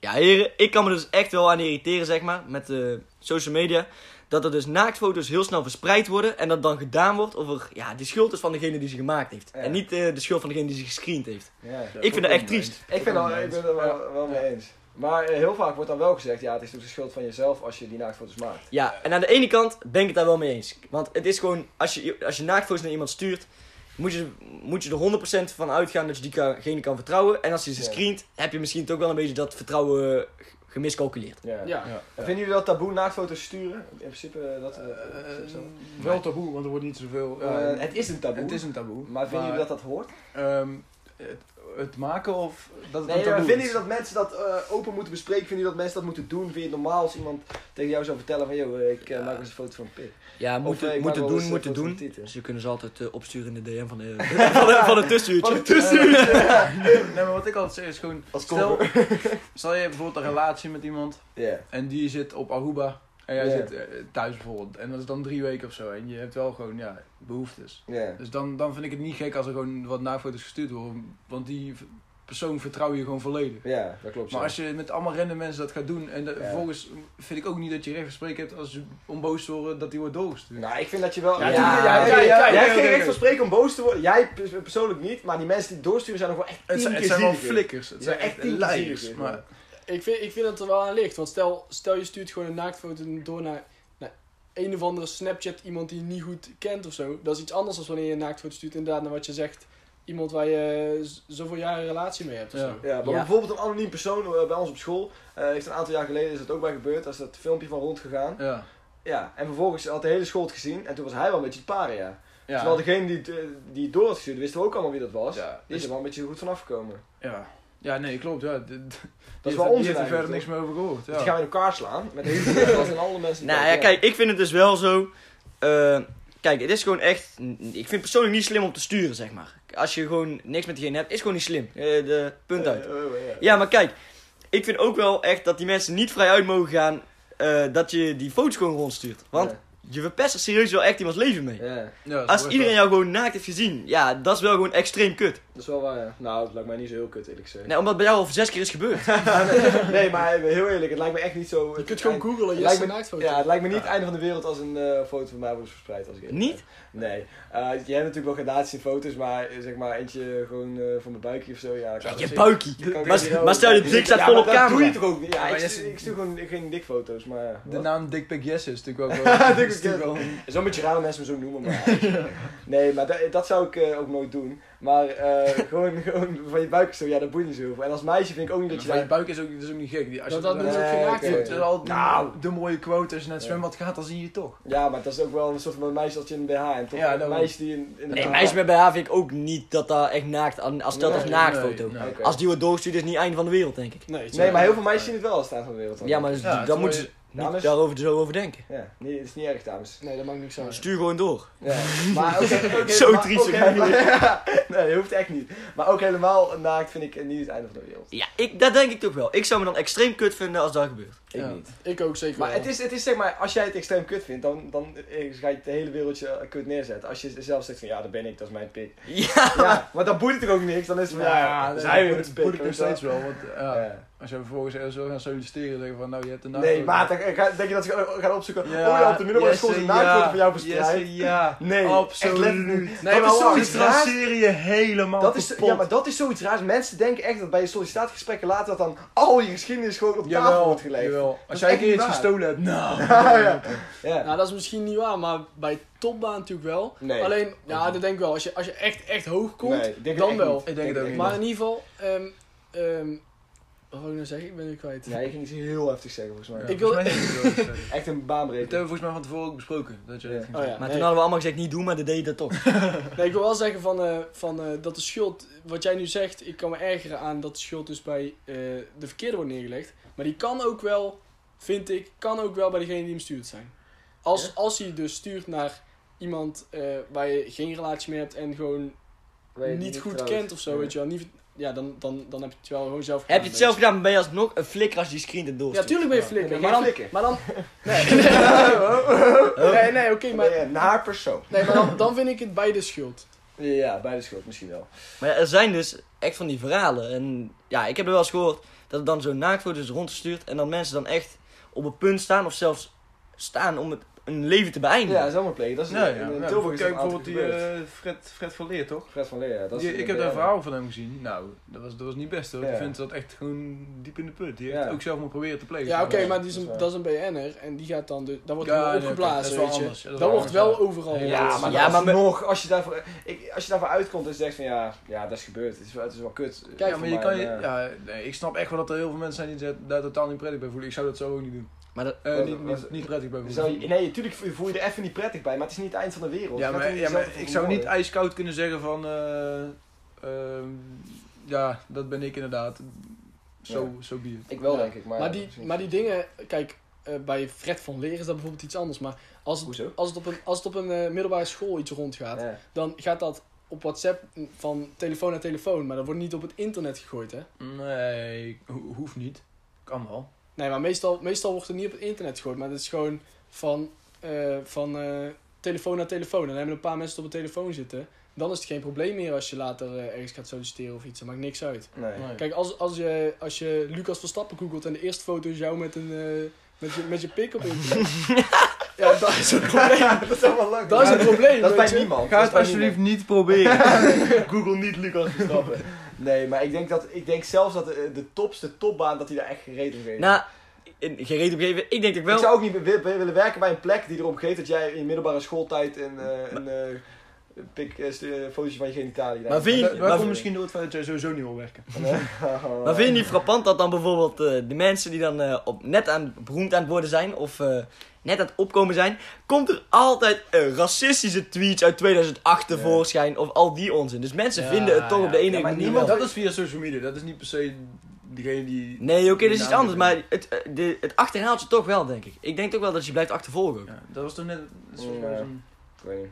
Speaker 3: Ja, heren, ik kan me dus echt wel aan irriteren, zeg maar, met eh, social media. Dat er dus naaktfoto's heel snel verspreid worden en dat dan gedaan wordt of er ja, de schuld is van degene die ze gemaakt heeft. En niet eh, de schuld van degene die ze gescreend heeft. ik vind dat echt triest.
Speaker 2: Ik ben al- ik ben het er wel, wel mee eens. Maar eh, heel vaak wordt dan wel gezegd, ja, het is natuurlijk de schuld van jezelf als je die naaktfoto's maakt.
Speaker 3: Ja, en aan de ene kant ben ik het daar wel mee eens. Want het is gewoon, als je, als je naaktfoto's naar iemand stuurt, moet je, moet je er 100% van uitgaan dat je diegene kan vertrouwen. En als je ze
Speaker 2: Ja.
Speaker 3: screent, heb je misschien toch wel een beetje dat vertrouwen eh, g- gemiscalculeerd.
Speaker 2: Ja.
Speaker 5: Ja.
Speaker 2: Vinden jullie dat taboe naaktfoto's sturen? In principe eh, dat... eh,
Speaker 4: Eh,
Speaker 2: zo?
Speaker 4: wel taboe, want er wordt niet zoveel. eh,
Speaker 2: Eh, het is een taboe.
Speaker 4: het is een taboe.
Speaker 2: Maar vinden jullie dat dat hoort?
Speaker 4: ehm, het, het maken of dat het
Speaker 2: Nee, maar
Speaker 4: een taboe
Speaker 2: vinden
Speaker 4: is?
Speaker 2: jullie dat mensen dat eh, open moeten bespreken? Vinden jullie dat mensen dat moeten doen? Vind je het normaal als iemand tegen jou zou vertellen van... Yo, eh, ik eh, maak eens een foto van een pik.
Speaker 3: Ja, moeten
Speaker 2: eh, ik maak
Speaker 3: moeten
Speaker 2: wel
Speaker 3: doen,
Speaker 2: eens, eh,
Speaker 3: moeten
Speaker 2: foto's
Speaker 3: doen.
Speaker 2: van tieten.
Speaker 3: Dus je kunnen ze altijd eh, opsturen in de DM van de, van de, van het tussenuurtje.
Speaker 4: Nee, maar wat ik altijd zeg is gewoon...
Speaker 2: Als
Speaker 4: Stel, stel je hebt bijvoorbeeld een relatie met iemand
Speaker 2: Ja.
Speaker 4: en die zit op Aruba en jij
Speaker 2: Ja.
Speaker 4: zit eh, thuis bijvoorbeeld. En dat is dan drie weken of zo en je hebt wel gewoon ja, behoeftes.
Speaker 2: Ja.
Speaker 4: Dus dan, dan vind ik het niet gek als er gewoon wat nafoto's gestuurd worden. Want die v- persoon vertrouw je gewoon volledig.
Speaker 2: Ja, dat klopt.
Speaker 4: Maar
Speaker 2: zo.
Speaker 4: als je met allemaal random mensen dat gaat doen en de-
Speaker 2: Ja.
Speaker 4: vervolgens vind ik ook niet dat je recht van spreken hebt als je om boos te worden dat die wordt doorgestuurd.
Speaker 2: Nou, ik vind dat je wel...
Speaker 5: Ja,
Speaker 2: Ja,
Speaker 5: tuurlijk,
Speaker 2: jij-
Speaker 4: ja, ja,
Speaker 2: jij-
Speaker 4: ja,
Speaker 2: jij
Speaker 4: ja,
Speaker 2: hebt geen
Speaker 4: ja,
Speaker 2: recht
Speaker 4: ja.
Speaker 2: van spreken om boos te worden. Jij pers- persoonlijk niet, maar die mensen die het doorsturen zijn nog wel echt tien
Speaker 4: Het zijn, het
Speaker 2: keer
Speaker 4: zijn wel
Speaker 2: zieliger.
Speaker 4: flikkers, het
Speaker 2: Ja,
Speaker 4: zijn
Speaker 2: echt
Speaker 4: echt
Speaker 2: tien keer
Speaker 4: leiders.
Speaker 2: zieliger,
Speaker 4: Maar
Speaker 2: ja.
Speaker 5: Ik vind, ik vind dat er wel aan ligt. Want stel, stel je stuurt gewoon een naaktfoto door naar, naar een of andere Snapchat iemand die je niet goed kent of zo. Dat is iets anders dan wanneer je een naaktfoto stuurt inderdaad naar wat je zegt. Iemand waar je z- zoveel jaren relatie mee hebt of
Speaker 4: Ja.
Speaker 5: zo.
Speaker 2: Ja, maar
Speaker 3: Ja.
Speaker 2: bijvoorbeeld een anoniem persoon eh, bij ons op school... eh, heeft een aantal jaar geleden is dat ook bij gebeurd. Daar is dat filmpje van rondgegaan.
Speaker 4: ja.
Speaker 2: Ja, en vervolgens had de hele school het gezien. En toen was hij wel een beetje het paria.
Speaker 4: Ja.
Speaker 2: Terwijl degene die, het, eh, die het door had gestuurd, wisten we ook allemaal wie dat was.
Speaker 4: Ja.
Speaker 2: Die is er wel een beetje goed vanaf gekomen.
Speaker 4: Ja. ja, nee, klopt. Ja. Dat
Speaker 2: wel
Speaker 4: Die
Speaker 2: onzin
Speaker 4: heeft er
Speaker 2: eigenlijk,
Speaker 4: verder
Speaker 2: toch?
Speaker 4: niks meer over gehoord.
Speaker 2: Die gaan
Speaker 4: Ja.
Speaker 2: we in elkaar slaan. Met de hele wereld en alle mensen. die
Speaker 3: Nou ja,
Speaker 2: dat-
Speaker 3: kijk, ik vind het dus wel zo. eh, kijk, het is gewoon echt. Ik vind het persoonlijk niet slim om te sturen, zeg maar. Als je gewoon niks met diegene hebt, is gewoon niet slim. Eh, de, punt uit.
Speaker 2: Eh, eh, eh,
Speaker 3: Ja, maar kijk, ik vind ook wel echt dat die mensen niet vrij uit mogen gaan eh, dat je die foto's gewoon rondstuurt. Want
Speaker 2: Ja.
Speaker 3: je verpest er serieus wel echt iemands leven mee.
Speaker 2: Ja,
Speaker 4: Ja, dat
Speaker 3: Als
Speaker 4: hoort
Speaker 3: iedereen
Speaker 4: wel.
Speaker 3: jou gewoon naakt heeft gezien, ja, dat is wel gewoon extreem kut.
Speaker 2: dat is wel waar. ja. Nou, het lijkt mij niet zo heel kut, eerlijk gezegd.
Speaker 3: Nee, omdat bij jou al zes keer is gebeurd.
Speaker 2: Nee, maar eh, heel eerlijk, het lijkt me echt niet zo.
Speaker 5: Je
Speaker 2: het-
Speaker 5: kunt gewoon
Speaker 2: het-
Speaker 5: googlen, je
Speaker 2: lijkt
Speaker 5: hebt
Speaker 2: me-
Speaker 5: een naaktfoto.
Speaker 2: Ja, het lijkt me niet het einde van de wereld als een eh, foto van mij wordt verspreid. Als ik eerlijk
Speaker 3: Niet?
Speaker 2: ben. Nee. Eh, je hebt natuurlijk wel gradaties in foto's, maar eh, zeg maar eentje gewoon eh, van mijn buikje of zo. Ja, dat kan
Speaker 3: Je
Speaker 2: ik-
Speaker 3: buikie.
Speaker 2: dat kan ik
Speaker 3: Maar,
Speaker 2: niet doen.
Speaker 3: maar stel je dik staat
Speaker 2: Ja,
Speaker 3: vol
Speaker 2: maar
Speaker 3: op
Speaker 2: dat doe je
Speaker 3: camera.
Speaker 2: toch ook niet? Ja,
Speaker 4: Ja,
Speaker 2: ik,
Speaker 4: maar jij
Speaker 2: stu-
Speaker 4: stu-
Speaker 2: ik stuur gewoon geen dikfoto's, maar... ja,
Speaker 4: De
Speaker 2: wat?
Speaker 4: naam Dick Pick Yes is natuurlijk wel... wel-
Speaker 2: Dick
Speaker 4: is
Speaker 2: Pick
Speaker 4: natuurlijk wel-
Speaker 2: Het is wel een beetje raar om mensen me zo noemen, maar... Nee, maar dat, dat zou ik eh, ook nooit doen. Maar eh, gewoon, gewoon van je buik zo, ja, dat boeit niet zo heel veel. En als meisje vind ik ook niet dat je
Speaker 4: Maar je
Speaker 2: daar...
Speaker 4: buik is ook, dat is ook niet gek. Die- Als je
Speaker 5: Dat- dat
Speaker 4: eh,
Speaker 5: doen ze ook geen
Speaker 2: Nee,
Speaker 5: naaktfoto.
Speaker 2: oké.
Speaker 4: het is al die-
Speaker 2: Nou.
Speaker 4: de mooie quote als je naar het zwembad gaat, dan zie je het toch.
Speaker 2: Ja, maar dat is ook wel een soort van meisje als je in een BH en toch
Speaker 4: Ja,
Speaker 2: een
Speaker 4: daarom.
Speaker 2: meisje die in... in
Speaker 3: Nee, meisjes met BH vind ik ook niet dat daar echt naakt aan, als dat als
Speaker 2: Nee,
Speaker 3: naaktfoto.
Speaker 4: nee, nee.
Speaker 2: Oké.
Speaker 3: Als die wordt doorgestuurd is het niet het einde van de wereld, denk ik.
Speaker 5: Nee, het is-
Speaker 2: Nee, maar heel veel meisjes zien het wel als het eind van de wereld. dan.
Speaker 3: Ja, maar dus-
Speaker 4: Ja, het is
Speaker 3: dan
Speaker 4: mooi.
Speaker 3: moeten ze niet
Speaker 2: Dames?
Speaker 3: daarover zo over denken.
Speaker 2: Ja, nee, het is niet erg, dames.
Speaker 5: Nee, dat maakt niks uit.
Speaker 3: Stuur gewoon door.
Speaker 2: Ja. Maar ook, ook-
Speaker 3: Zo
Speaker 2: maar
Speaker 3: triest
Speaker 2: ook
Speaker 3: ook eigenlijk.
Speaker 2: helemaal- Nee, dat hoeft echt niet. Maar ook helemaal naakt vind ik niet het einde van de wereld.
Speaker 3: Ja, ik, dat denk ik toch wel. Ik zou me dan extreem kut vinden als dat gebeurt.
Speaker 2: Ik
Speaker 4: Ja.
Speaker 2: niet.
Speaker 5: Ik ook zeker
Speaker 2: Maar
Speaker 5: wel.
Speaker 2: het is, het is zeg maar, als jij het extreem kut vindt, dan, dan eh, ga je het hele wereldje eh, kut neerzetten. Als je zelf zegt van, ja, dat ben ik, dat is mijn pik.
Speaker 3: Ja.
Speaker 2: Ja, maar dan boeit het er ook niks, dan is het van, ja,
Speaker 4: dat
Speaker 2: zijn we
Speaker 4: moet-
Speaker 2: met de pik.
Speaker 4: moet ik nog
Speaker 2: weet je wel.
Speaker 4: steeds wel. Want, eh, ja.
Speaker 2: Ja.
Speaker 4: Als je vervolgens ergens wil gaan solliciteren, zeggen van nou je hebt een
Speaker 2: nee,
Speaker 4: naaktfoto.
Speaker 2: maat, ik- ik ga- denk je dat ze gaan- gaan opzoeken?
Speaker 4: Ja,
Speaker 2: oh ja, op de middelbare school is een
Speaker 4: Jesse,
Speaker 2: naaktfoto
Speaker 4: ja.
Speaker 2: van jou verspreid.
Speaker 4: Jesse, ja.
Speaker 2: Nee,
Speaker 4: Absoluut.
Speaker 2: echt letterlijk niet.
Speaker 4: Nee,
Speaker 2: Dat
Speaker 4: maar
Speaker 2: is
Speaker 4: wacht,
Speaker 2: zoiets
Speaker 4: die traceer
Speaker 2: raars.
Speaker 4: je helemaal
Speaker 2: Dat is,
Speaker 4: kapot.
Speaker 2: ja, maar dat is zoiets raars. Mensen denken echt dat bij je sollicitatiegesprekken later dat dan al je geschiedenis gewoon op tafel
Speaker 4: Jawel,
Speaker 2: wordt gelegd.
Speaker 4: jawel.
Speaker 2: is
Speaker 4: Als jij een
Speaker 2: echt
Speaker 4: keer
Speaker 2: niet
Speaker 4: iets
Speaker 2: waar.
Speaker 4: gestolen hebt, nou.
Speaker 2: ja. Ja.
Speaker 5: Nou, dat is misschien niet waar, maar bij topbaan natuurlijk wel.
Speaker 2: Nee.
Speaker 5: Alleen, ja, dat denk ik wel. Als je, als je echt, echt hoog komt,
Speaker 2: Nee, ik denk het
Speaker 5: dan
Speaker 2: echt
Speaker 5: wel.
Speaker 2: niet.
Speaker 4: Ik denk het ook niet.
Speaker 5: Maar in ieder geval, ehm, ehm, wat wil ik nou zeggen? Ik ben het kwijt.
Speaker 2: Ja, je ging iets heel heftig zeggen volgens mij.
Speaker 5: Ik wil-
Speaker 4: Volgens mij is het zo.
Speaker 2: Echt een
Speaker 4: Dat
Speaker 2: baanbreker.
Speaker 4: hebben we volgens mij van tevoren ook besproken. Dat je
Speaker 2: Ja.
Speaker 4: dat ging
Speaker 5: Oh ja,
Speaker 4: zeggen.
Speaker 3: Maar toen
Speaker 5: nee.
Speaker 3: hadden we allemaal gezegd niet doen, maar dat deed je dat toch.
Speaker 5: Nee, ik wil wel zeggen van, eh, van, eh, dat de schuld, wat jij nu zegt, ik kan me ergeren aan dat de schuld dus bij eh, de verkeerde wordt neergelegd. Maar die kan ook wel, vind ik, kan ook wel bij degene die hem stuurt zijn. Als, als hij dus stuurt naar iemand eh, waar je geen relatie mee hebt en gewoon
Speaker 2: Waar je
Speaker 5: niet, goed
Speaker 2: trouwt.
Speaker 5: kent of zo,
Speaker 2: Ja.
Speaker 5: weet je wel. Niet, ja, dan, dan, dan heb je het wel gewoon zelf
Speaker 3: Heb je het zelf gedaan, maar ben je alsnog een flikker als je die screen het
Speaker 5: Ja,
Speaker 3: doorstuurt.
Speaker 5: tuurlijk ben je
Speaker 2: Ja,
Speaker 5: flikker. maar,
Speaker 2: geen
Speaker 5: dan,
Speaker 2: flikker.
Speaker 5: maar dan... Nee, nee, nee oké, maar,
Speaker 2: Maar ja, naar persoon.
Speaker 5: nee, maar dan, dan vind ik het beide schuld.
Speaker 2: Ja, bij de schuld misschien wel.
Speaker 3: Maar ja, er zijn dus echt van die verhalen. En ja, ik heb er wel eens gehoord dat er dan zo'n naaktfoto's dus rondgestuurd. En dan mensen dan echt op het punt staan of zelfs staan om het, een leven te beëindigen.
Speaker 2: Ja, dat is allemaal plegen. Dat is
Speaker 4: Ja, ja.
Speaker 2: in- in
Speaker 4: Nou,
Speaker 2: Tilburg is dat
Speaker 4: Kijk
Speaker 2: een aantal
Speaker 4: bijvoorbeeld die
Speaker 2: gebeurd.
Speaker 4: eh, Fred, Fred van Leer, toch?
Speaker 2: Fred van Leer, ja, dat is
Speaker 4: Die- ik
Speaker 2: een
Speaker 4: heb daar
Speaker 2: BN'er.
Speaker 4: verhaal van hem gezien. Nou, dat was, dat was niet best hoor.
Speaker 2: Ja.
Speaker 4: Ik vind dat echt gewoon diep in de put. Die heeft
Speaker 2: Ja.
Speaker 4: ook zelf maar proberen te plegen.
Speaker 5: Ja, oké, maar
Speaker 4: maar...
Speaker 5: die is een,
Speaker 2: dat is
Speaker 5: dat is een BN'er en die gaat dan... De, daar wordt
Speaker 4: Ja,
Speaker 5: gewoon
Speaker 4: nee, oké, dat
Speaker 5: opgeblazen,
Speaker 4: is wel
Speaker 5: weet je.
Speaker 4: anders. Ja, dat
Speaker 5: dat
Speaker 4: is
Speaker 5: wordt
Speaker 4: wel
Speaker 5: wel
Speaker 4: anders,
Speaker 5: overal.
Speaker 4: Ja,
Speaker 5: gebeurd.
Speaker 2: Ja, maar
Speaker 3: Ja, maar met-
Speaker 2: nog, als je, daarvoor, ik, als je daarvoor uitkomt en zegt van ja, ja dat is gebeurd, het is, wel- het is wel kut.
Speaker 4: Kijk, maar je kan je,
Speaker 2: Ja.
Speaker 4: ja, nee, ik snap echt wel dat er heel veel mensen zijn die zich daar totaal niet prettig bij voelen. Ik zou dat zo ook niet doen.
Speaker 3: Maar dat,
Speaker 4: Eh,
Speaker 2: Wat-
Speaker 4: niet,
Speaker 2: wat-
Speaker 4: niet, niet prettig bij
Speaker 2: Je
Speaker 4: voelen.
Speaker 2: zou je- dus nee, natuurlijk voel je er even niet prettig bij, maar het is niet het eind van de wereld.
Speaker 4: Ja,
Speaker 2: Je gaat
Speaker 4: maar,
Speaker 2: er
Speaker 4: ja,
Speaker 2: jezelf
Speaker 4: maar
Speaker 2: voor
Speaker 4: ik zou niet
Speaker 2: vermoorden.
Speaker 4: ijskoud kunnen zeggen van... eh, ehm, ja, dat ben ik inderdaad. Zo, zo bier.
Speaker 2: Ik wel,
Speaker 5: Ja.
Speaker 2: denk ik. Maar,
Speaker 5: Maar
Speaker 2: ja,
Speaker 5: die,
Speaker 2: misschien.
Speaker 5: maar die dingen, kijk, eh, bij Fred van Leer is dat bijvoorbeeld iets anders. Maar als het,
Speaker 2: Hoezo?
Speaker 5: als het op een, als het op een eh, middelbare school iets rondgaat,
Speaker 2: Ja.
Speaker 5: dan gaat dat op WhatsApp van telefoon naar telefoon. Maar dat wordt niet op het internet gegooid, hè?
Speaker 4: Nee, ho- hoeft niet. Kan wel.
Speaker 5: Nee, maar meestal, meestal wordt het niet op het internet gegooid. Maar het is gewoon van, eh, van eh, telefoon naar telefoon. En dan hebben een paar mensen het op de telefoon zitten. Dan is het geen probleem meer als je later eh, ergens gaat solliciteren of iets. Dat maakt niks uit.
Speaker 2: Nee.
Speaker 4: Nee.
Speaker 5: Kijk, als, als, je, als je Lucas Verstappen googelt en de eerste foto is jou met, een, eh, met je, met je pik op internet. ja, dat is een probleem.
Speaker 2: dat is allemaal leuk.
Speaker 5: Dat is een probleem,
Speaker 2: Dat is
Speaker 5: weet
Speaker 2: bij
Speaker 5: je.
Speaker 2: niemand. Dat
Speaker 4: Ga het
Speaker 2: is bij
Speaker 4: alsjeblieft niet proberen.
Speaker 2: niemand. Google niet Lucas Verstappen. Nee, maar ik denk, dat, ik denk zelfs dat de, de tops, de topbaan, dat hij daar echt gereden om geeft.
Speaker 3: nou, in- geen reden op geven. Ik denk dat ik wel...
Speaker 2: Ik zou ook niet wi- wi- willen werken bij een plek die erop geeft dat jij in je middelbare schooltijd een, eh, een eh, pik, eh, st- eh, fotootje van je genitalie
Speaker 3: Maar vind je-
Speaker 4: Dat-
Speaker 3: maar
Speaker 4: Dat
Speaker 3: vind-
Speaker 4: komt misschien door het feit dat jij sowieso niet wil werken.
Speaker 2: Oh,
Speaker 3: Maar vind je niet frappant dat dan bijvoorbeeld eh, de mensen die dan eh, op, net aan, beroemd aan het worden zijn of eh, net aan het opkomen zijn, komt er altijd eh, racistische tweets uit 2008 tevoorschijn of al die onzin. Dus mensen
Speaker 4: Ja,
Speaker 3: vinden het toch op de
Speaker 4: ja.
Speaker 3: ene
Speaker 2: Ja, maar
Speaker 3: manier
Speaker 2: niemand-
Speaker 3: wel.
Speaker 4: Dat is via social media. Dat is niet per se degene die...
Speaker 3: Nee, oké, dat is iets
Speaker 4: Ja,
Speaker 3: anders,
Speaker 4: dat
Speaker 3: maar het, eh, de, het achterhaalt je toch wel, denk ik. Ik denk toch wel dat je blijft achtervolgen. ook.
Speaker 4: Ja, dat was toch net... Dat is volgens
Speaker 2: Ja.
Speaker 4: mij zo'n-
Speaker 2: Ik weet niet.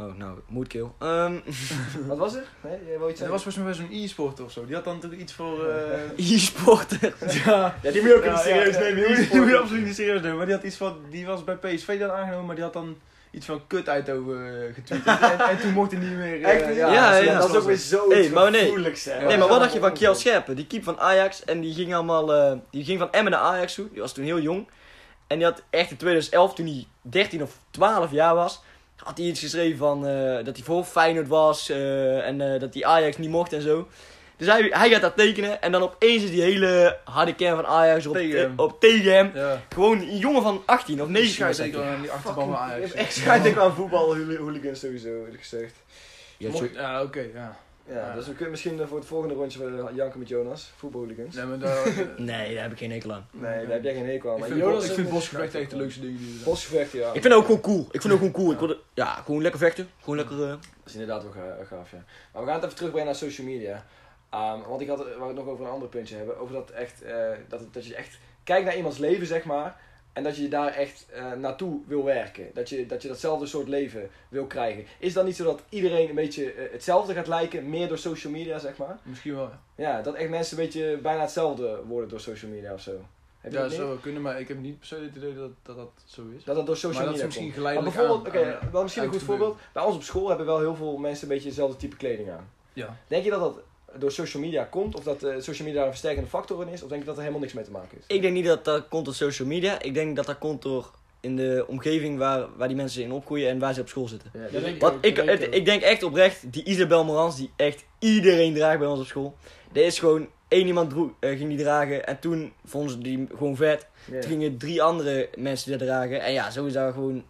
Speaker 3: Oh, nou, moet kill. Ehm
Speaker 2: Wat was er? Nee, jij wou iets
Speaker 4: Dat
Speaker 2: zeggen?
Speaker 4: was volgens mij wel zo'n e-sport of zo. Die had dan toch iets voor... eh,
Speaker 3: e-sporter.
Speaker 4: ja,
Speaker 2: Ja, die moet je ook
Speaker 4: Ja,
Speaker 2: niet
Speaker 4: ja,
Speaker 2: serieus
Speaker 4: ja,
Speaker 2: nemen.
Speaker 4: die moet
Speaker 2: joh.
Speaker 4: je- Die moet je absoluut niet serieus nemen. Maar die had iets van... Die was bij PSV dan aangenomen, maar die had dan iets van kut uit over eh, getweet. en, en toen mocht hij niet meer... eh,
Speaker 2: Echt niet?
Speaker 3: Ja, ja, ja.
Speaker 2: dat is ook weer zo
Speaker 3: Hey, maar nee.
Speaker 2: gevoeligs, hè.
Speaker 3: Nee, maar wat dacht je van Kjell Scherpen? Die keep van Ajax en die ging allemaal, eh, die ging van Emmen naar Ajax toe. Die was toen heel jong. En die had echt in 2011, toen hij 13 of 12 jaar was, had hij iets geschreven van eh, dat hij voor Feyenoord was eh, en eh, dat hij Ajax niet mocht en zo. Dus hij, hij gaat dat tekenen en dan opeens is die hele harde kern van Ajax op eh,
Speaker 4: Tegen hem.
Speaker 3: op, tegen hem.
Speaker 4: Ja.
Speaker 3: Gewoon een jongen van 18 of 19 was dat
Speaker 4: zeker
Speaker 3: toen.
Speaker 4: aan die achterban van
Speaker 2: Je
Speaker 4: Ajax.
Speaker 2: hebt echt schijt aan voetbal hooligans sowieso, eerlijk gezegd.
Speaker 3: Ja,
Speaker 4: Mocht-
Speaker 3: sorry.
Speaker 4: Ja, oké, ja.
Speaker 2: Ja, dus we kunnen misschien eh, voor het volgende rondje van janken met Jonas, voetbalhooligans.
Speaker 4: Nee, maar daar...
Speaker 3: Nee, daar heb ik geen enkel aan.
Speaker 2: Nee, daar heb jij geen hekel aan.
Speaker 4: Ik
Speaker 2: Maar
Speaker 4: vind,
Speaker 5: Jonas
Speaker 4: Jonas ik
Speaker 5: is
Speaker 4: vind
Speaker 5: een-
Speaker 4: bosgevecht echt de leukste dingen die er zijn.
Speaker 2: Bosgevecht, ja.
Speaker 3: Ik vind het ook gewoon cool. Ik vind het ook gewoon cool. Ik wilde, ja, gewoon lekker vechten. Gewoon lekker... eh,
Speaker 2: Dat is inderdaad wel ga- gaaf, ja. Maar we gaan het even terugbrengen naar social media. Ehm, want ik had wou het nog over een ander puntje hebben. Over dat, echt, eh, dat, het- dat je echt kijkt naar iemands leven, zeg maar. En dat je daar echt eh, naartoe wil werken. Dat je, dat je datzelfde soort leven wil krijgen. Is dat niet zo dat iedereen een beetje eh, hetzelfde gaat lijken? Meer door social media, zeg maar?
Speaker 4: Misschien wel.
Speaker 2: Ja, dat echt mensen een beetje bijna hetzelfde worden door social media of zo. Heb je
Speaker 4: Ja,
Speaker 2: dat niet?
Speaker 4: zou wel kunnen, maar ik heb niet per se het idee dat dat, dat zo is.
Speaker 2: Dat dat door social
Speaker 4: Maar dat is
Speaker 2: media
Speaker 4: misschien
Speaker 2: komt. Maar
Speaker 4: geleidelijk
Speaker 2: bijvoorbeeld,
Speaker 4: aan-
Speaker 2: oké,
Speaker 4: aan- eh,
Speaker 2: wel misschien een
Speaker 4: aan
Speaker 2: goed
Speaker 4: het gebeuren.
Speaker 2: voorbeeld. Bij ons op school hebben wel heel veel mensen een beetje dezelfde type kleding aan.
Speaker 4: Ja.
Speaker 2: Denk je dat dat door social media komt, of dat eh, social media daar een versterkende factor in is, of denk je dat er helemaal niks mee te maken heeft?
Speaker 3: Ik denk niet dat dat komt door social media. Ik denk dat dat komt door in de omgeving waar, waar die mensen in opgroeien en waar ze op school zitten.
Speaker 2: Ja,
Speaker 5: Dat denk ik ook,
Speaker 3: Want ik,
Speaker 5: dat
Speaker 3: het-
Speaker 5: denk
Speaker 3: ik denk echt oprecht, die Isabel Morans, die echt iedereen draagt bij ons op school. Er is gewoon één iemand droeg, eh, ging die dragen en toen vonden ze die gewoon vet. Toen gingen drie andere mensen die dat dragen en ja, zo is dat gewoon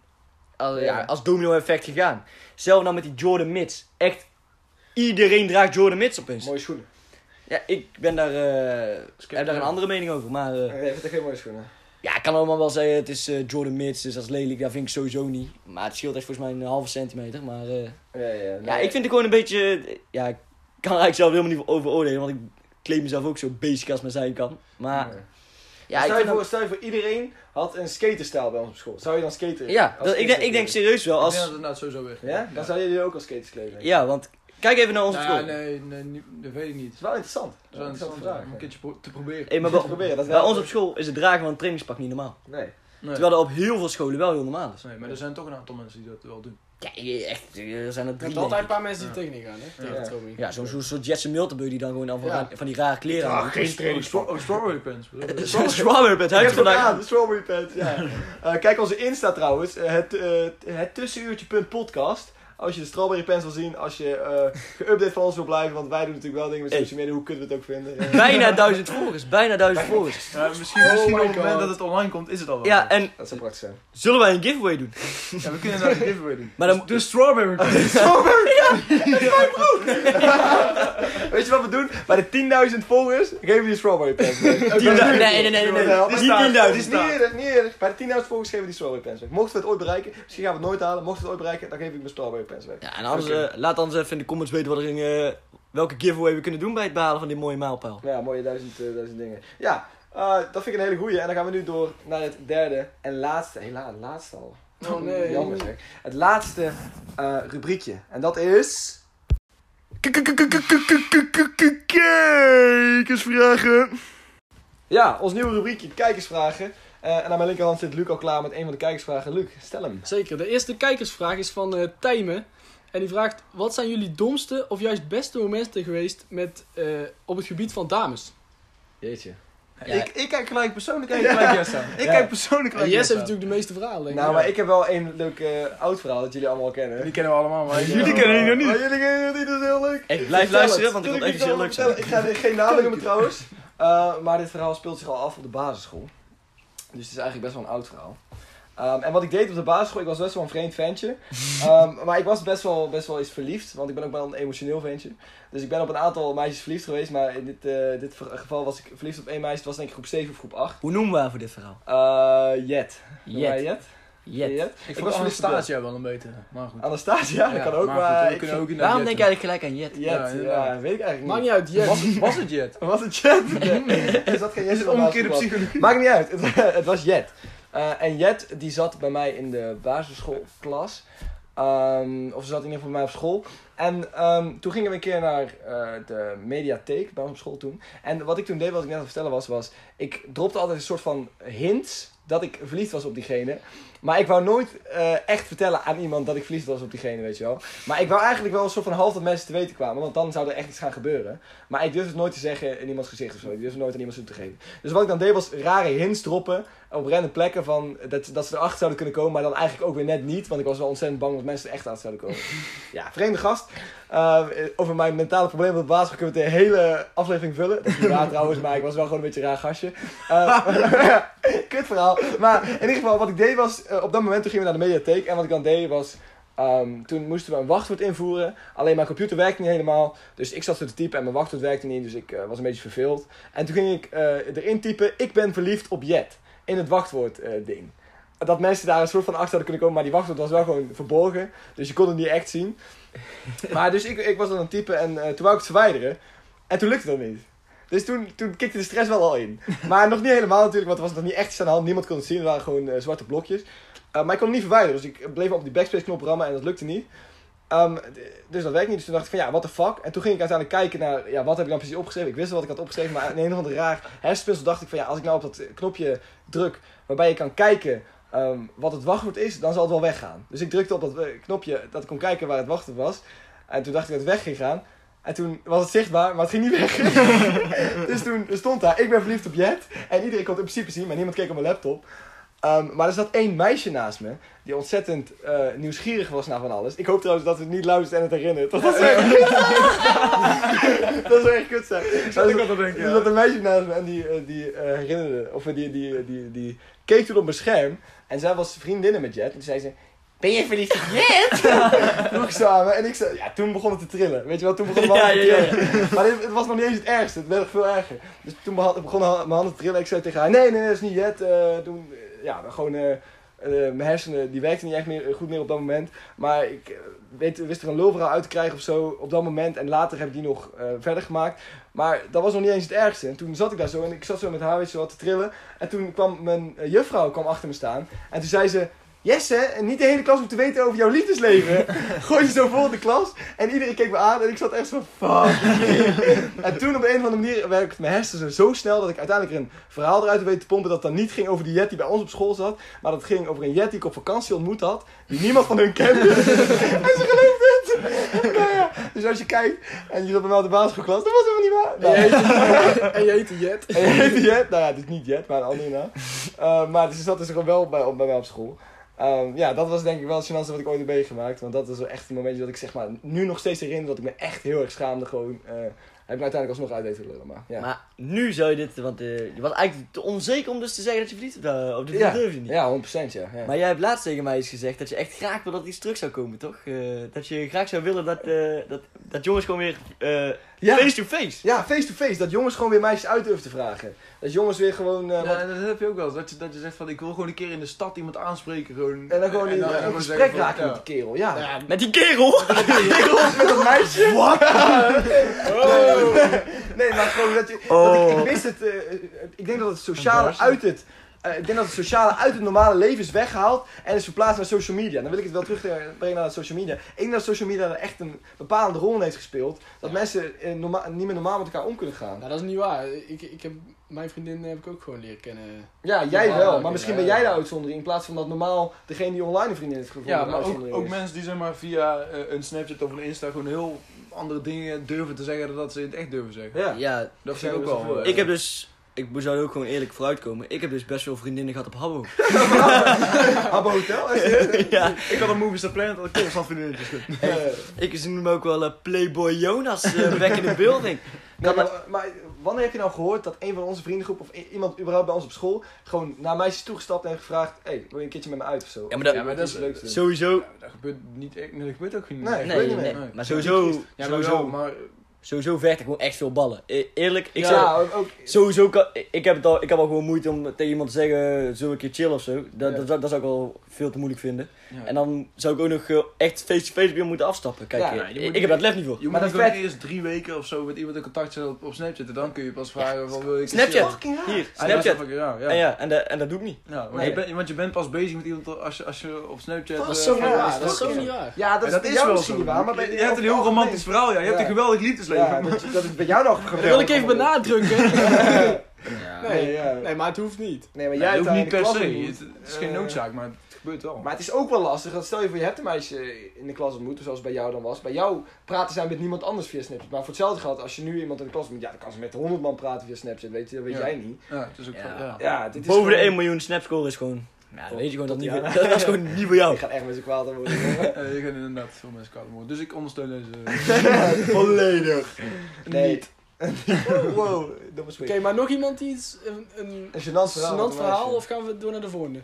Speaker 3: als, ja,
Speaker 2: Ja.
Speaker 3: als domino effect gegaan. Zelf nou met die Jordan Mits. Echt, iedereen draagt Jordan Mits opeens.
Speaker 2: Mooie schoenen.
Speaker 3: Ja, ik ben daar, eh, heb daar een andere mening over, maar... eh,
Speaker 2: Nee, ik vind echt geen mooie schoenen.
Speaker 3: ja, ik kan allemaal wel zeggen, het is eh, Jordan Mids, dus dat is lelijk, dat vind ik sowieso niet. Maar het scheelt echt volgens mij een halve centimeter. Maar eh,
Speaker 2: Ja, ja, ja.
Speaker 3: ja,
Speaker 2: Nee.
Speaker 3: ik vind het gewoon een beetje, eh, ja, ik kan er eigenlijk zelf helemaal niet over oordelen, want ik claim mezelf ook zo basic als maar zijn kan. Maar
Speaker 2: Nee.
Speaker 3: ja, ik
Speaker 2: stel, je
Speaker 3: vind
Speaker 2: voor,
Speaker 3: dat-
Speaker 2: stel je voor, iedereen had een skaterstijl bij ons op school. Zou je dan skateren?
Speaker 3: ja,
Speaker 2: Als
Speaker 3: dat, ik, denk,
Speaker 2: skater
Speaker 3: ik denk
Speaker 2: kleden?
Speaker 3: serieus wel
Speaker 4: Als... Ik denk dat
Speaker 3: als,
Speaker 4: het inderdaad sowieso weg
Speaker 2: Ja? Dan zou jullie ook als skaters kleden. denk ik.
Speaker 3: ja, want kijk even naar onze
Speaker 4: Nou ja,
Speaker 3: school.
Speaker 4: nee, nee, niet- dat weet ik niet.
Speaker 2: Dat is wel interessant. Dat is wel
Speaker 4: Dat is
Speaker 2: een interessante
Speaker 4: interessant
Speaker 2: vraag.
Speaker 4: om een keertje pro- te proberen.
Speaker 3: Hey, maar
Speaker 2: Moet
Speaker 3: bij,
Speaker 2: je proberen, dat is
Speaker 3: bij
Speaker 2: wel-
Speaker 3: ons op school is het dragen van een trainingspak niet normaal.
Speaker 2: Nee.
Speaker 4: Nee.
Speaker 3: Terwijl dat op heel veel scholen wel heel normaal is.
Speaker 4: nee, maar er zijn toch een aantal mensen die dat wel doen.
Speaker 3: Ja, echt, er zijn er
Speaker 5: Er
Speaker 3: drie.
Speaker 5: zijn altijd
Speaker 3: denk
Speaker 5: een
Speaker 3: ik.
Speaker 5: paar mensen die er tegenin gaan, hè? Tegen
Speaker 2: Ja.
Speaker 5: de stroming.
Speaker 3: Ja, zo'n zo'n soort Jetson Miltenburg die dan gewoon dan van,
Speaker 5: Ja.
Speaker 3: van die rare kleren aan doet.
Speaker 4: Oh, stra- oh, strawberry pants. bedoel je?
Speaker 3: Strawberry Pet, hij
Speaker 2: Ik
Speaker 3: heeft
Speaker 2: heb het ook
Speaker 3: vandaag...
Speaker 2: aan, de strawberry pants, ja. Eh, kijk onze Insta trouwens, eh, het, eh, het tussenuurtje.podcast. Als je de strawberry pants wil zien, als je eh geüpdate van ons wil blijven, want wij doen natuurlijk wel dingen met
Speaker 3: Hey.
Speaker 2: social media, hoe kunnen we het ook vinden. Ja.
Speaker 3: Bijna duizend volgers, bijna duizend volgers.
Speaker 4: Ja, misschien
Speaker 5: Oh
Speaker 4: misschien
Speaker 5: my
Speaker 4: op het moment
Speaker 5: God.
Speaker 4: dat het online komt, is het al wel.
Speaker 3: Ja, en
Speaker 2: Dat zou prachtig zijn.
Speaker 3: zullen wij een giveaway doen?
Speaker 4: Ja, we kunnen daar een giveaway doen.
Speaker 3: Maar dan,
Speaker 4: De strawberry pants.
Speaker 2: Weet je wat we doen? Bij de 10.000 volgers geven we die strawberry pants. weg. Ook
Speaker 3: nee,
Speaker 2: dat is
Speaker 3: nee,
Speaker 2: nu-
Speaker 3: nee, nee, nee, nee, nee.
Speaker 2: Jawel,
Speaker 3: Dit is
Speaker 2: maar
Speaker 3: niet
Speaker 2: staat.
Speaker 3: 10.000.
Speaker 2: Dit is niet eerder, niet eerder. Bij de 10.000 volgers geven we die strawberry pants weg. Mochten we het ooit bereiken, misschien gaan we het nooit halen, mochten we het ooit bereiken, dan geef ik mijn strawberry pants weg.
Speaker 3: Ja, en anders,
Speaker 2: Oké.
Speaker 3: eh, laat anders even in de comments weten wat er in, eh, welke giveaway we kunnen doen bij het behalen van dit mooie mijlpaal.
Speaker 2: Nou ja, mooie duizend, eh, duizend dingen. Ja, eh, dat vind ik een hele goeie. En dan gaan we nu door naar het derde en laatste. Helaas, het laatste al.
Speaker 5: Oh nee.
Speaker 2: Jammer zeg. Het laatste eh, rubriekje. En dat is... Kijkersvragen. Ja, ons nieuwe rubriekje, kijkersvragen. Eh, en aan mijn linkerhand zit Luc al klaar met een van de kijkersvragen. Luc, stel hem.
Speaker 5: Zeker. De eerste kijkersvraag is van eh Tijmen. En die vraagt: Wat zijn jullie domste of juist beste momenten geweest met, eh, op het gebied van dames?
Speaker 2: Jeetje.
Speaker 4: Ik, ik kijk gelijk persoonlijk kijk ik gelijk Jessa. Ik
Speaker 2: Ja.
Speaker 4: kijk persoonlijk
Speaker 5: En
Speaker 4: gelijk
Speaker 5: Jess
Speaker 4: Jessa.
Speaker 5: heeft natuurlijk de meeste verhalen, denk ik.
Speaker 2: Nou, maar ik heb wel een leuk eh, oud verhaal dat jullie allemaal al kennen.
Speaker 4: Die kennen we allemaal, maar
Speaker 2: Jullie
Speaker 4: kennen die nog
Speaker 2: Maar jullie kennen het niet, dat is heel leuk.
Speaker 3: Echt, blijf
Speaker 2: Vertel
Speaker 3: luisteren,
Speaker 2: het.
Speaker 3: want ik
Speaker 2: Wil niet
Speaker 3: vond het echt heel
Speaker 2: allemaal
Speaker 3: leuk zijn.
Speaker 2: vertellen? Ik ga geen namen noemen trouwens. Eh, maar dit verhaal speelt zich al af op de basisschool. Dus het is eigenlijk best wel een oud verhaal. Ehm, en wat ik deed op de basisschool, ik was best wel een vreemd ventje. Ehm, maar ik was best wel, best wel eens verliefd, want ik ben ook wel een emotioneel ventje. Dus ik ben op een aantal meisjes verliefd geweest, maar in dit, eh, dit ver- geval was ik verliefd op één meisje. Het was denk ik groep 7 of groep 8.
Speaker 3: Hoe noemen we haar voor dit verhaal?
Speaker 2: Eh Jet. Noem jij
Speaker 3: Jet.
Speaker 2: Jet?
Speaker 3: Jet.
Speaker 2: Jet?
Speaker 4: Ik vond
Speaker 2: verliefd op Jet.
Speaker 4: Anastasia wel een betere, maar goed.
Speaker 2: Anastasia, dat
Speaker 4: Ja,
Speaker 2: kan ook, maar,
Speaker 4: goed, we
Speaker 2: ik-
Speaker 4: kunnen ook in
Speaker 3: Waarom
Speaker 4: dat
Speaker 3: denk
Speaker 4: Jet
Speaker 3: jij eigenlijk gelijk aan Jet?
Speaker 4: Ja,
Speaker 2: Jet, ja,
Speaker 4: inderdaad.
Speaker 2: weet ik eigenlijk
Speaker 5: Maakt
Speaker 2: niet.
Speaker 5: niet uit, Jess.
Speaker 4: doen? Was het Jet?
Speaker 2: Was het Jet? Nee. Er zat geen Jet
Speaker 4: Is
Speaker 2: in
Speaker 4: het
Speaker 2: de
Speaker 4: omgekeerde
Speaker 2: basisschool.
Speaker 4: psychologie?
Speaker 2: Maakt niet uit, het, het was Jet. Eh, en Jet die zat bij mij in de basisschoolklas. Ehm, of ze zat in ieder geval bij mij op school. En ehm, toen gingen we een keer naar eh, de mediatheek bij ons op school toen. En wat ik toen deed, wat ik net aan het vertellen was, was... Ik dropte altijd een soort van hints dat ik verliefd was op diegene. Maar ik wou nooit eh, echt vertellen aan iemand dat ik verliefd was op diegene, weet je wel. Maar ik wou eigenlijk wel een soort van half dat mensen te weten kwamen. Want dan zou er echt iets gaan gebeuren. Maar ik durfde het nooit te zeggen in iemands gezicht of zo. Ik durfde het nooit aan iemand zo te geven. Dus wat ik dan deed was rare hints droppen op random plekken van dat, dat ze erachter zouden kunnen komen, maar dan eigenlijk ook weer net niet, want ik was wel ontzettend bang dat mensen er echt achter zouden komen. ja, vreemde gast. Eh, over mijn mentale problemen op de basisschool kunnen we de hele aflevering vullen. Dat is niet waar trouwens, maar ik was wel gewoon een beetje een raar gastje. Eh, kut verhaal. Maar in ieder geval, wat ik deed was, eh, op dat moment toen gingen we naar de mediatheek en wat ik dan deed was, ehm, toen moesten we een wachtwoord invoeren, alleen mijn computer werkte niet helemaal, dus ik zat zo te typen en mijn wachtwoord werkte niet, dus ik eh, was een beetje verveeld. En toen ging ik eh, erin typen, ik ben verliefd op Jet. In het wachtwoord eh, ding. Dat mensen daar een soort van achter hadden kunnen komen, maar die wachtwoord was wel gewoon verborgen. Dus je kon het niet echt zien. Maar dus ik, ik was aan het typen en eh, toen wou ik het verwijderen. En toen lukte dat niet. Dus toen, toen kikte de stress wel al in. Maar nog niet helemaal natuurlijk, want er was nog niet echt iets aan de hand. Niemand kon het zien, er waren gewoon eh, zwarte blokjes. Eh, maar ik kon het niet verwijderen, dus ik bleef op die backspace knop rammen en dat lukte niet. Ehm, d- dus dat werkte niet. Dus toen dacht ik van ja, what the fuck. En toen ging ik uiteindelijk kijken naar ja, wat heb ik dan precies opgeschreven. Ik wist wel wat ik had opgeschreven, maar in een of ander raar hersenspinsel dacht ik van ja, als ik nou op dat eh, knopje druk waarbij je kan kijken ehm, wat het wachtwoord is, dan zal het wel weggaan. Dus ik drukte op dat eh, knopje dat ik kon kijken waar het wachtwoord was. En toen dacht ik dat het weg ging gaan. En En toen was het zichtbaar, maar het ging niet weg. dus toen stond daar, ik ben verliefd op Jet. En iedereen kon het in principe zien, maar niemand keek op mijn laptop. Ehm, maar er zat één meisje naast me, die ontzettend eh, nieuwsgierig was naar van alles. Ik hoop trouwens dat ze het niet luistert en het herinnert. want Dat zou echt, dat zou echt kut zijn.
Speaker 4: Zou ik altijd denken,
Speaker 2: Er
Speaker 4: ja.
Speaker 2: zat een meisje naast me en die, eh, die eh, herinnerde, of eh, die, die, die, die, die keek toen op mijn scherm. En zij was vriendinnen met Jet. En toen zei ze, ben je verliefd op Jet? Toen ik zo aan me en ik zei, ja, toen begon het te trillen. Weet je wel, toen begon mijn
Speaker 3: Ja,
Speaker 2: handen
Speaker 3: ja,
Speaker 2: te
Speaker 3: ja,
Speaker 2: trillen. Maar dit- het was nog niet eens het ergste, het werd nog veel erger. Dus toen beha- begon ha- mijn handen te trillen. Ik zei tegen haar, nee, nee, nee, dat is niet Jet. Eh, toen, eh, ja, dan gewoon... eh, eh, mijn hersenen die werkten niet echt meer, eh, goed meer op dat moment. Maar ik eh, weet, wist er een lulverhaal uit te krijgen of zo op dat moment. En later heb ik die nog eh, verder gemaakt. Maar dat was nog niet eens het ergste. En toen zat ik daar zo en ik zat zo met haar weet je wel, te trillen. En toen kwam mijn eh, juffrouw kwam achter me staan. En toen zei ze... Jesse, en niet de hele klas om te weten over jouw liefdesleven. Gooi je zo vol de klas. En iedereen keek me aan en ik zat echt zo fuck. you." en toen op een of andere manier werkte mijn hersenen zo snel dat ik uiteindelijk een verhaal eruit weet te pompen dat dan niet ging over die jet die bij ons op school zat. Maar dat ging over een jet die ik op vakantie ontmoet had. Die niemand van hun kende. en ze geloofde het. nou ja, dus als je kijkt en je zat bij mij op de basisschoolklas, dat was helemaal niet waar.
Speaker 5: En je
Speaker 2: Nou,
Speaker 5: heet- En je heet die Jet.
Speaker 2: en je heet die Jet? Nou ja, dus niet Jet, maar een andere naam. Eh, maar dus dat is gewoon wel bij, op- bij mij op school. Ehm, ja, dat was denk ik wel het gênantste wat ik ooit heb meegemaakt. Want dat is wel echt een momentje dat ik zeg maar nu nog steeds herinner dat ik me echt heel erg schaamde. Gewoon, eh, heb ik me uiteindelijk alsnog uit weten te lullen, maar ja.
Speaker 3: Maar nu zou je dit, want eh, je was eigenlijk te onzeker om dus te zeggen dat je verliefd op, eh, op dit
Speaker 2: ja,
Speaker 3: durf je niet.
Speaker 2: ja, 100% ja. ja.
Speaker 3: Maar jij hebt laatst tegen mij eens gezegd dat je echt graag wil dat iets terug zou komen, toch? Eh, dat je graag zou willen dat, eh, dat, dat jongens gewoon weer eh,
Speaker 2: Ja.
Speaker 3: face-to-face.
Speaker 2: Ja, face-to-face. dat jongens gewoon weer meisjes uit durven te vragen. Dat jongens weer gewoon... eh, wat-
Speaker 4: Ja, dat heb je ook wel eens. Dat je, dat je zegt van ik wil gewoon een keer in de stad iemand aanspreken. Gewoon,
Speaker 2: En dan gewoon in
Speaker 4: dan
Speaker 2: een
Speaker 4: gewoon
Speaker 2: gesprek
Speaker 4: zeggen van,
Speaker 2: raken
Speaker 4: ja.
Speaker 2: met die kerel. Ja, ja.
Speaker 3: Met die kerel!
Speaker 2: met dat meisje. Oh. Wat? Nee, maar gewoon dat je... Dat ik, ik wist het... eh, eh, ik denk dat het sociale uit het... eh, ik denk dat het sociale uit het normale leven is weggehaald en is verplaatst naar social media. Dan wil ik het wel terugbrengen naar het social media. Ik denk dat social media er echt een bepalende rol in heeft gespeeld. Dat mensen eh, norma- niet meer normaal met elkaar om kunnen gaan.
Speaker 5: Nou, dat is niet waar. Ik, ik heb, mijn vriendin heb ik ook gewoon leren kennen.
Speaker 2: Ja, jij
Speaker 5: Ja,
Speaker 2: wel.
Speaker 5: oké,
Speaker 2: Maar misschien
Speaker 5: ja,
Speaker 2: ben jij
Speaker 5: ja.
Speaker 2: de uitzondering in plaats van dat normaal degene die online een vriendin heeft gevonden
Speaker 4: Ja,
Speaker 2: de
Speaker 4: maar ook,
Speaker 2: uitzondering
Speaker 4: ook
Speaker 2: is.
Speaker 4: mensen die zeg maar via eh, een Snapchat of een Insta gewoon heel andere dingen durven te zeggen dan dat ze in het echt durven zeggen.
Speaker 2: Ja.
Speaker 3: Ja,
Speaker 4: Dat vind ik ook wel. eh,
Speaker 3: ik heb dus, ik zou er ook gewoon eerlijk vooruitkomen, ik heb dus best veel vriendinnen gehad op Habbo.
Speaker 2: Habbo Hotel?
Speaker 3: ja,
Speaker 4: Ik had een Movies the Planet dat ik constant vriendinnetjes heb.
Speaker 2: Eh,
Speaker 3: ik noem ook wel eh, Playboy Jonas, eh, back in the building.
Speaker 2: Nee, maar, maar wanneer heb je nou gehoord dat een van onze vriendengroep of i- iemand überhaupt bij ons op school gewoon naar meisjes toegestapt en heeft gevraagd: hey, wil je een keertje met me uit of zo?
Speaker 3: Ja, maar dat,
Speaker 4: Ja, maar dat
Speaker 2: is
Speaker 4: is
Speaker 2: het leukste.
Speaker 3: sowieso,
Speaker 4: Dat gebeurt niet echt, nee, dat gebeurt ook niet.
Speaker 2: Nee,
Speaker 3: nee,
Speaker 2: weet je
Speaker 3: nee,
Speaker 4: niet.
Speaker 3: maar sowieso,
Speaker 4: Ja, maar wel,
Speaker 3: sowieso,
Speaker 4: maar
Speaker 3: sowieso vecht ik gewoon echt veel ballen. E- eerlijk, ik
Speaker 2: ja,
Speaker 3: zou,
Speaker 2: ook, ook-
Speaker 3: Sowieso, kan, ik, heb het al, ik heb al gewoon moeite om tegen iemand te zeggen, eh, zullen we een keer chillen of zo. Dat,
Speaker 2: Ja.
Speaker 3: dat, dat, zou ik al veel te moeilijk vinden.
Speaker 4: Ja.
Speaker 3: En dan zou ik ook nog eh, echt face-to-face bij hem moeten afstappen. Kijk,
Speaker 2: Ja,
Speaker 3: eh,
Speaker 4: nou, je moet
Speaker 3: ik,
Speaker 4: niet-
Speaker 3: heb dat lef niet voor.
Speaker 4: je
Speaker 2: Maar
Speaker 4: moet
Speaker 2: dat
Speaker 4: niet gewoon
Speaker 2: werd-
Speaker 4: eerst drie weken of zo met iemand in contact zijn op, op Snapchat en dan kun je pas vragen van wil ik
Speaker 3: Snapchat.
Speaker 2: fucking raar.
Speaker 3: Hier,
Speaker 4: Ah, ja, dat is
Speaker 3: Snapchat.
Speaker 4: wel fucking raar, ja.
Speaker 3: En ja, en, dat- en dat doe ik niet.
Speaker 4: Ja, want,
Speaker 2: Nee.
Speaker 4: je bent- want je bent pas bezig met iemand als je, als je op Snapchat...
Speaker 2: Dat is
Speaker 4: eh,
Speaker 2: zo
Speaker 4: van-
Speaker 2: raar,
Speaker 4: Ja,
Speaker 5: Ja, dat is zo niet waar.
Speaker 2: Ja, dat,
Speaker 4: dat
Speaker 2: is
Speaker 4: is
Speaker 2: bij jou
Speaker 4: wel
Speaker 2: misschien
Speaker 4: zo.
Speaker 2: niet waar, maar bij-
Speaker 4: Je hebt een heel
Speaker 2: algemeen-
Speaker 4: romantisch verhaal, ja. Je hebt
Speaker 2: Ja.
Speaker 4: een geweldig liefdesleven.
Speaker 2: Ja,
Speaker 4: maar-
Speaker 2: dat, dat is bij jou nou nog geweldig.
Speaker 5: Dat wil ik even benadrukken.
Speaker 2: Nee, ja.
Speaker 5: Nee, maar het hoeft niet.
Speaker 2: nee, maar
Speaker 4: Ja,
Speaker 2: jij
Speaker 4: dat
Speaker 2: hebt
Speaker 4: hoeft
Speaker 2: daar in
Speaker 4: niet per
Speaker 2: de klas
Speaker 4: se. Het,
Speaker 2: ontmoet.
Speaker 4: het is geen
Speaker 2: Eh,
Speaker 4: noodzaak, maar het gebeurt wel.
Speaker 2: Maar het is ook wel lastig, dat stel je voor je hebt een meisje in de klas ontmoet, zoals bij jou dan was. Bij jou praten zij met niemand anders via Snapchat. Maar voor hetzelfde geld, als je nu iemand in de klas ontmoet, ja, dan kan ze met honderd man praten via Snapchat, weet, je, dat weet
Speaker 4: Ja.
Speaker 2: jij niet.
Speaker 4: ja, het is ook...
Speaker 3: Ja.
Speaker 4: ja.
Speaker 2: Ja, dit is
Speaker 3: Boven de
Speaker 2: gewoon-
Speaker 3: 1 miljoen snapscore is gewoon... Oh, Ja, dan weet je gewoon dat,
Speaker 2: tot
Speaker 3: niet,
Speaker 2: die
Speaker 3: voor-
Speaker 2: jaren.
Speaker 3: dat is gewoon niet voor jou.
Speaker 2: Ik ga echt met z'n kwaad aan worden. jongen.
Speaker 4: Eh, je gaat inderdaad veel mensen koud worden. Dus ik ondersteun deze...
Speaker 2: Volledig. Nee.
Speaker 4: Niet.
Speaker 2: wow, dat was
Speaker 5: Oké,
Speaker 2: weird.
Speaker 5: maar nog iemand die iets... Een, een
Speaker 2: Een gênant verhaal.
Speaker 5: gênant verhaal
Speaker 2: meisje.
Speaker 5: of gaan we door naar de volgende?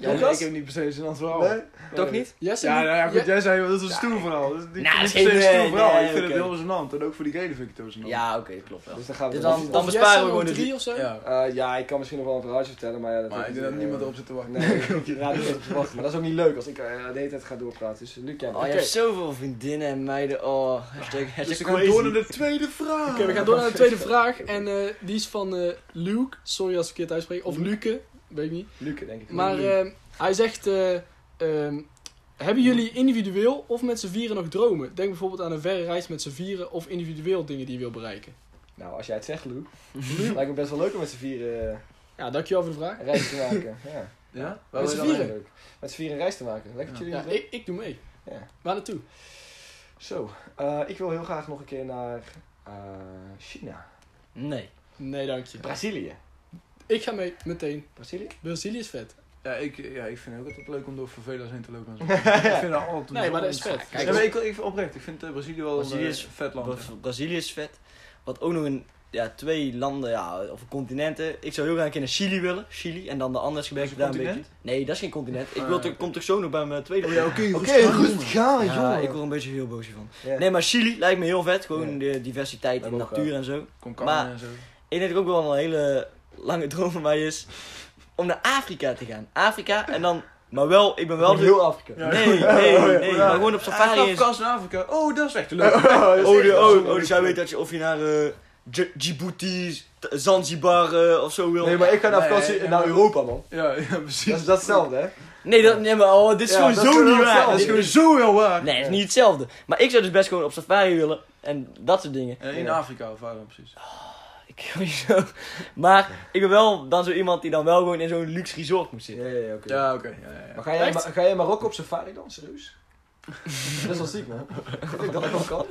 Speaker 4: Ja,
Speaker 5: Lucas?
Speaker 4: ik heb niet per se een antwoord.
Speaker 2: Nee?
Speaker 3: Toch niet?
Speaker 5: Jesse?
Speaker 4: Ja, nou ja, goed,
Speaker 5: Je-
Speaker 4: jij zei dat is een stoel verhaal. Dat is niet
Speaker 3: Nou, dat
Speaker 4: niet per se een
Speaker 3: is geen-
Speaker 4: stoel verhaal.
Speaker 3: nee,
Speaker 4: ik vind
Speaker 3: oké.
Speaker 4: het heel resonant. En ook voor die reden vind ik het heel resonant.
Speaker 3: Ja, oké, klopt wel.
Speaker 2: Dus dan gaan we
Speaker 3: Dus
Speaker 2: er
Speaker 3: dan-
Speaker 2: niet
Speaker 3: dan
Speaker 5: of
Speaker 2: over.
Speaker 3: besparen we
Speaker 5: Jesse
Speaker 3: gewoon
Speaker 5: nog
Speaker 3: de
Speaker 5: drie
Speaker 3: die-
Speaker 5: of zo?
Speaker 4: Ja.
Speaker 2: Eh, ja, ik kan misschien nog wel een verhaaltje vertellen, maar ja, dat eh,
Speaker 4: Maar ik denk dat niemand erop zit te wachten.
Speaker 2: Nee, ja, dat is te wachten. Maar dat is ook niet leuk als ik eh, de hele tijd ga doorpraten. Dus Luc, jij
Speaker 3: Oh, je hebt zoveel vriendinnen en meiden. Oh, hashtag, hashtag
Speaker 4: Dus we gaan
Speaker 3: crazy.
Speaker 4: door naar de tweede vraag.
Speaker 5: Oké, we gaan door naar de tweede vraag. En eh, die is van eh, Luke. Sorry als ik het verkeerd uitspreek. Of Luke, weet ik niet.
Speaker 2: Luc, denk ik.
Speaker 5: Maar
Speaker 2: Luc.
Speaker 5: ehm, hij zegt... eh, ehm, hebben jullie individueel of met z'n vieren nog dromen? Denk bijvoorbeeld aan een verre reis met z'n vieren of individueel dingen die je wil bereiken.
Speaker 2: Nou, als jij het zegt, Luc. lijkt me best wel leuk om met z'n vieren eh,
Speaker 5: Ja, dankjewel voor de vraag.
Speaker 2: een reis te maken. Ja.
Speaker 4: Ja?
Speaker 2: Waar
Speaker 5: Met
Speaker 2: wil
Speaker 5: z'n
Speaker 2: je dan
Speaker 5: vieren?
Speaker 2: heen, Luc? Met z'n vieren een reis te maken. Lekker met jullie.
Speaker 5: Ja,
Speaker 2: idee?
Speaker 5: ik, ik doe mee.
Speaker 2: Ja.
Speaker 5: Waar naartoe?
Speaker 2: Zo, eh, ik wil heel graag nog een keer naar eh, China.
Speaker 3: Nee.
Speaker 5: Nee, dank je.
Speaker 2: Brazilië.
Speaker 5: Ik ga mee, meteen.
Speaker 2: Brazilië?
Speaker 5: Brazilië is vet.
Speaker 4: Ja ik, ja, ik vind het ook altijd leuk om door vervelers heen te lopen. en zo. ik vind dat altijd
Speaker 5: Nee, maar dat is
Speaker 4: vet.
Speaker 5: vet.
Speaker 4: Ja, maar ik, ik, oprecht, ik vind eh, Brazilië wel
Speaker 3: Brazilië
Speaker 4: een eh,
Speaker 3: is-
Speaker 4: vet land.
Speaker 3: Bra- Brazilië is vet. Wat ook nog een, ja, twee landen, ja, of continenten. Ik zou heel graag een keer naar Chili willen. Chili. En dan de anders gebrek
Speaker 4: een
Speaker 3: daar een beetje.
Speaker 4: continent?
Speaker 3: Nee, dat is geen continent. Ik
Speaker 4: Eh.
Speaker 2: Ah.
Speaker 3: wil toch, kom toch zo nog bij mijn tweede.
Speaker 4: oké,
Speaker 2: Oké, rustig aan, Oh,
Speaker 3: Ja,
Speaker 2: jongen.
Speaker 3: ik word er een beetje heel boos hiervan.
Speaker 2: Ja.
Speaker 3: Nee, maar Chili lijkt me heel vet. Gewoon
Speaker 2: Ja.
Speaker 3: de diversiteit in
Speaker 2: Hebben we ook
Speaker 3: natuur en zo. Maar-
Speaker 4: en zo.
Speaker 3: Ik denk dat ook wel een hele lange droom van mij is om naar Afrika te gaan. Afrika en dan, maar wel, ik ben wel...
Speaker 2: Gewoon heel Afrika.
Speaker 3: Nee, nee, nee, maar gewoon op
Speaker 4: Hij
Speaker 3: safari
Speaker 4: gaf
Speaker 3: is...
Speaker 4: kans naar Afrika. Oh, dat is echt leuk.
Speaker 3: Oh, de, oh, oh, dus jij weet dat je of je naar eh, Dj- Djibouti, T- Zanzibar eh, of zo wil.
Speaker 2: Nee, maar ik ga naar
Speaker 4: Nee,
Speaker 2: vakantie
Speaker 4: ja,
Speaker 2: naar
Speaker 4: maar-
Speaker 2: Europa, man.
Speaker 4: ja, ja,
Speaker 2: Dat is
Speaker 4: precies.
Speaker 2: dat is hetzelfde, hè?
Speaker 3: Nee, dat, nee maar oh, dit is
Speaker 2: Ja,
Speaker 3: gewoon
Speaker 2: dat
Speaker 3: zo
Speaker 2: is
Speaker 3: niet
Speaker 2: wel
Speaker 3: waar.
Speaker 2: hetzelfde.
Speaker 3: Dit is gewoon-
Speaker 4: zo heel waar.
Speaker 3: Nee, het is
Speaker 2: Ja.
Speaker 3: niet hetzelfde. Maar ik zou dus best gewoon op safari willen en dat soort dingen.
Speaker 4: Ja, Eh, in
Speaker 2: Ja.
Speaker 4: Afrika of waar dan precies.
Speaker 3: Ik weet niet zo. Maar ik ben wel dan zo iemand die dan wel gewoon in zo'n luxe resort moet zitten.
Speaker 2: Ja, ja, ja, oké.
Speaker 4: Ja, oké. ja, ja, ja.
Speaker 2: Maar ga jij,
Speaker 5: Echt?
Speaker 2: ma- ga jij in Marokko op safari dan, serieus? dat is wel ziek, man. Ik denk dat ik wel kan.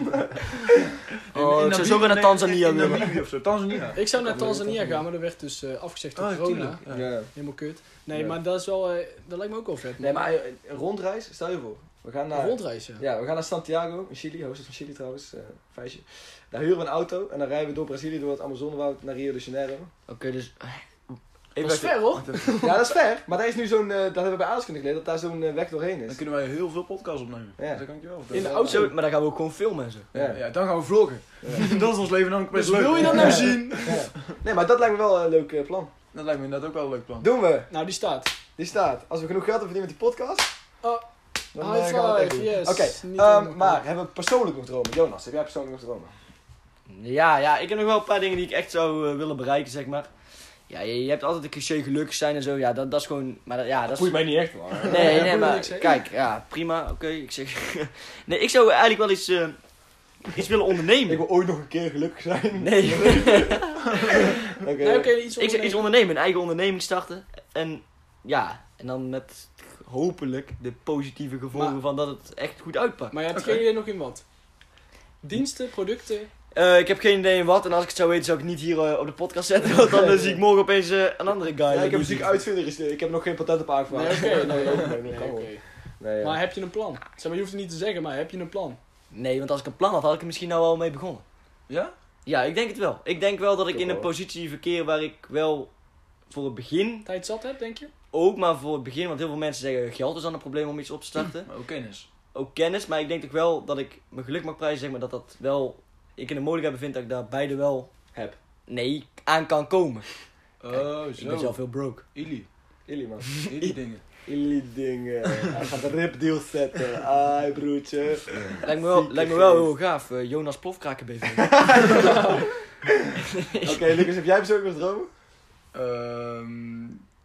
Speaker 4: In-
Speaker 3: Oh,
Speaker 4: in
Speaker 3: ik zou
Speaker 4: Namibië-
Speaker 3: zo weer naar
Speaker 4: nee,
Speaker 3: Tanzania
Speaker 4: in
Speaker 3: willen.
Speaker 4: Namibië of zo. Tanzania.
Speaker 5: Ik zou naar
Speaker 2: Dat wil ik
Speaker 5: Tanzania
Speaker 2: ook
Speaker 5: gaan, maar dat werd dus eh, afgezegd door
Speaker 4: Oh,
Speaker 5: corona.
Speaker 4: tuurlijk. Ja.
Speaker 2: Ja.
Speaker 5: Helemaal kut. Nee,
Speaker 2: Ja.
Speaker 5: maar dat is wel, eh, dat lijkt me ook wel vet.
Speaker 2: Nee, maar eh, een rondreis, stel je voor. We gaan naar,
Speaker 5: Rondreizen.
Speaker 2: ja, we gaan naar Santiago, in Chili, hoofdstad van Chili trouwens, eh feestje. Daar huren we een auto en dan rijden we door Brazilië, door het Amazonewoud naar Rio de Janeiro.
Speaker 3: Oké, dus.
Speaker 5: Dat
Speaker 3: Even
Speaker 5: is ver hoor.
Speaker 2: ja, dat is ver, maar daar is nu zo'n, eh, dat hebben we bij Aaskunde geleerd, dat daar zo'n eh, weg doorheen
Speaker 4: Dan
Speaker 2: is.
Speaker 4: kunnen wij heel veel podcasts opnemen. Dus
Speaker 2: Ja.
Speaker 4: Dat kan ik je wel vertellen.
Speaker 5: In de
Speaker 2: wel-
Speaker 5: auto.
Speaker 3: Zo, maar dan gaan we ook gewoon filmen en zo.
Speaker 4: Ja.
Speaker 2: Ja.
Speaker 4: ja, dan gaan we vloggen. dat is ons leven namelijk best
Speaker 5: Dus
Speaker 4: leuk.
Speaker 5: wil je dat nou zien?
Speaker 2: Ja. Nee, maar dat lijkt me wel een leuk eh, plan.
Speaker 4: Dat lijkt me inderdaad ook wel een leuk plan.
Speaker 2: Doen we,
Speaker 5: Nou, die staat.
Speaker 2: die staat. Als we genoeg geld hebben verdiend met die podcast,
Speaker 5: Oh,
Speaker 2: dan eh,
Speaker 5: high
Speaker 2: gaan we het
Speaker 5: five,
Speaker 2: echt doen.
Speaker 5: yes.
Speaker 2: Oké,
Speaker 5: Niet
Speaker 2: ehm,
Speaker 5: helemaal
Speaker 2: maar
Speaker 5: goed.
Speaker 2: hebben we persoonlijk nog dromen? Jonas, heb jij persoonlijk nog dromen?
Speaker 3: Ja, ja, ik heb nog wel een paar dingen die ik echt zou eh, willen bereiken, zeg maar. Ja, je, je hebt altijd een cliché gelukkig zijn en zo. Ja, dat, dat is gewoon. Maar dat- ja, dat, is.
Speaker 2: mij niet echt, man.
Speaker 3: Nee,
Speaker 5: moet
Speaker 3: nee,
Speaker 5: je
Speaker 3: maar
Speaker 5: niks zeggen.
Speaker 3: kijk, ja, prima, oké, ik zeg. nee, ik zou eigenlijk wel iets, eh, iets willen ondernemen.
Speaker 2: Ik wil ooit nog een keer gelukkig zijn.
Speaker 3: Nee,
Speaker 2: Oké.
Speaker 5: Nee, oké, iets
Speaker 3: ik zou iets
Speaker 5: ondernemen.
Speaker 3: ondernemen, een eigen onderneming starten. En ja, en dan met hopelijk de positieve gevolgen
Speaker 5: Maar-
Speaker 3: van dat het echt goed uitpakt.
Speaker 5: Maar je hebt geen idee nog in wat. Diensten, producten.
Speaker 3: Eh, ik heb geen idee in wat, en als ik het zou weten, zou ik het niet hier eh, op de podcast zetten. Want dan eh, zie ik morgen opeens eh, een andere guy.
Speaker 2: Ja, ik heb
Speaker 3: Die-
Speaker 2: muziek uitvinder gestuurd. Ik heb nog geen patent op
Speaker 5: Nee,
Speaker 2: aangevraagd.
Speaker 5: oké. nee,
Speaker 2: nee,
Speaker 5: nee,
Speaker 2: nee,
Speaker 5: nee,
Speaker 2: nee,
Speaker 5: oké.
Speaker 2: Nee, ja.
Speaker 5: Maar heb je een plan? Zeg maar, je hoeft het niet te zeggen, maar heb je een plan?
Speaker 3: Nee, want als ik een plan had, had ik er misschien nou al mee begonnen.
Speaker 4: Ja?
Speaker 3: Ja, ik denk het wel. Ik denk wel dat ik
Speaker 2: Toch
Speaker 3: in een
Speaker 2: wel.
Speaker 3: positie verkeer waar ik wel voor het begin
Speaker 5: Tijd zat hebt, denk je?
Speaker 3: ook, maar voor het begin, want heel veel mensen zeggen geld is dan een probleem om iets op te starten.
Speaker 4: Maar ook kennis.
Speaker 3: ook kennis, maar ik denk ook wel dat ik mijn geluk mag prijzen, zeg maar, dat dat wel, ik in de mogelijkheid bevind dat ik daar beide wel
Speaker 2: Heb.
Speaker 3: Nee, aan kan komen.
Speaker 4: Oh,
Speaker 3: Ik ben zelf
Speaker 4: zo.
Speaker 3: heel broke.
Speaker 4: Illy.
Speaker 2: Illy, man.
Speaker 4: Illy dingen.
Speaker 2: Illy dingen. Hij gaat een ripdeal zetten. Ai, broertje.
Speaker 3: Lijkt me wel,
Speaker 2: Zieke
Speaker 3: lijkt me wel
Speaker 2: geest.
Speaker 3: heel gaaf, eh, Jonas Plofkraken BV.
Speaker 2: Oké, Lucas, heb jij persoonlijk nog dromen?
Speaker 4: Ehm,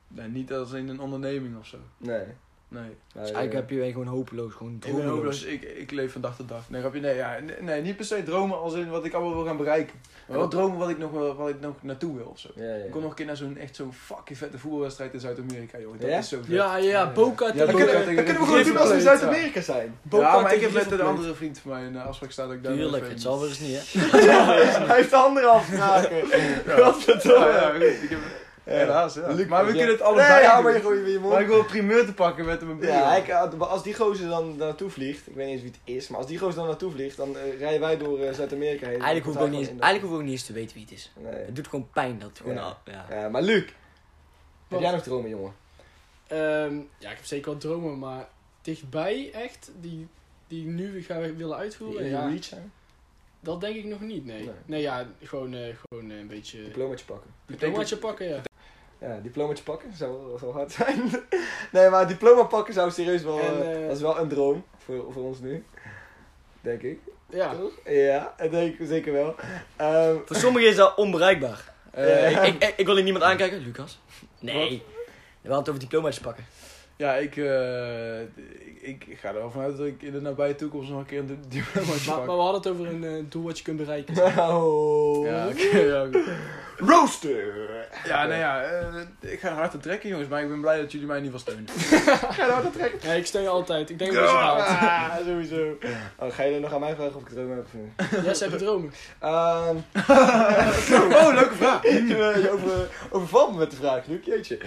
Speaker 4: nee, niet als in een onderneming of zo.
Speaker 2: Nee.
Speaker 4: Nee.
Speaker 2: Nee,
Speaker 3: Dus
Speaker 2: nee.
Speaker 3: eigenlijk heb je gewoon hopeloos, gewoon
Speaker 4: Ik ben
Speaker 3: dromeloos.
Speaker 4: hopeloos. Ik, ik leef van dag tot dag. Nee, grapje. Nee, ja, nee, nee, niet per se dromen als in wat ik allemaal wil gaan bereiken. Maar wel dromen wat ik nog, wel- wat ik nog naartoe wil of zo.
Speaker 2: Ja, ja.
Speaker 4: Ik kom nog een keer naar zo'n echt zo'n fucking vette voetbalwedstrijd in Zuid-Amerika, joh. Dat
Speaker 2: Ja?
Speaker 4: is zo vet.
Speaker 5: Ja, ja, Boca
Speaker 4: Ja,
Speaker 2: Dan
Speaker 5: tegen-
Speaker 4: Boca
Speaker 2: kunnen, we-
Speaker 4: tegen
Speaker 2: dan kunnen we
Speaker 4: de
Speaker 2: gewoon doen als we in
Speaker 4: River Plate,
Speaker 2: Zuid-Amerika zijn.
Speaker 4: Ja, maar
Speaker 5: tegen
Speaker 4: ik heb net
Speaker 5: Liverpool.
Speaker 4: een andere vriend van mij een eh, afspraak staan dat ik daar nog
Speaker 3: Tuurlijk,
Speaker 4: even-
Speaker 3: het zal wel eens niet, hè.
Speaker 2: Hij heeft de andere afspraken. Wat
Speaker 4: Ja,
Speaker 2: verdomme.
Speaker 4: ja, goed, ik heb... Helaas, ja.
Speaker 2: Luc,
Speaker 4: maar we
Speaker 2: ja.
Speaker 4: kunnen het allebei
Speaker 2: Nee, hou
Speaker 4: doen.
Speaker 2: maar je gewoon in je
Speaker 4: Maar ik
Speaker 2: mond.
Speaker 4: wil een primeur te pakken met mijn broer.
Speaker 2: Ja, ik, eh, als die gozer dan naartoe vliegt, ik weet niet eens wie het is, maar als die gozer dan naartoe vliegt, dan eh, rijden wij door eh, Zuid-Amerika heen.
Speaker 3: Eigenlijk hoef ik ook niet eens,
Speaker 2: in de-
Speaker 3: eigenlijk hoef ik ook niet eens te weten wie het is.
Speaker 2: Nee.
Speaker 3: Het doet gewoon pijn dat het gewoon,
Speaker 2: Ja.
Speaker 3: al- ja.
Speaker 2: Ja, maar Luc, heb
Speaker 5: Wat?
Speaker 2: jij nog dromen, jongen?
Speaker 5: Ehm, ja, ik heb zeker wel dromen, maar dichtbij echt, die, die ik nu weer ga willen uitvoeren,
Speaker 2: In je
Speaker 5: ja,
Speaker 2: reach zijn?
Speaker 5: dat denk ik nog niet, nee.
Speaker 2: Nee.
Speaker 5: Nee, ja, gewoon, eh, gewoon eh, een beetje
Speaker 2: Diplomaatje pakken.
Speaker 5: diplomaatje pakken, ja.
Speaker 2: Ja, diplomaatje pakken zou wel zou hard zijn. nee, maar diploma pakken zou serieus wel...
Speaker 5: En,
Speaker 2: eh,
Speaker 5: eh,
Speaker 2: dat is wel een droom voor, voor ons nu. Denk ik.
Speaker 5: Ja,
Speaker 2: Toch? Ja, dat denk ik zeker wel. Ehm,
Speaker 3: Voor sommigen is dat onbereikbaar. Eh,
Speaker 2: Ja.
Speaker 3: ik, ik, ik wil hier niemand aankijken, Lucas. Nee. We hadden het over diploma's pakken.
Speaker 4: Ja, ik, eh, ik, ik ga er wel vanuit dat ik in de nabije toekomst nog een keer een diplomaatje
Speaker 5: maar,
Speaker 4: pak.
Speaker 5: maar we hadden het over een eh, doel wat je kunt bereiken.
Speaker 2: nou...
Speaker 4: Ja, oké, ja, oké.
Speaker 2: Rooster!
Speaker 4: Ja, nou ja, eh, ik ga er hard aan trekken, jongens, maar ik ben blij dat jullie mij in ieder geval steunen.
Speaker 5: Ja, ik steun je altijd. Ik denk dat je het haalt.
Speaker 2: Ah, sowieso. Oh, ga je nog aan mij vragen of ik dromen heb of niet?
Speaker 5: Yes, heb je dromen.
Speaker 2: Ehm, oh, leuke vraag. Je, je over, overvalt me met de vraag, Luc. Jeetje.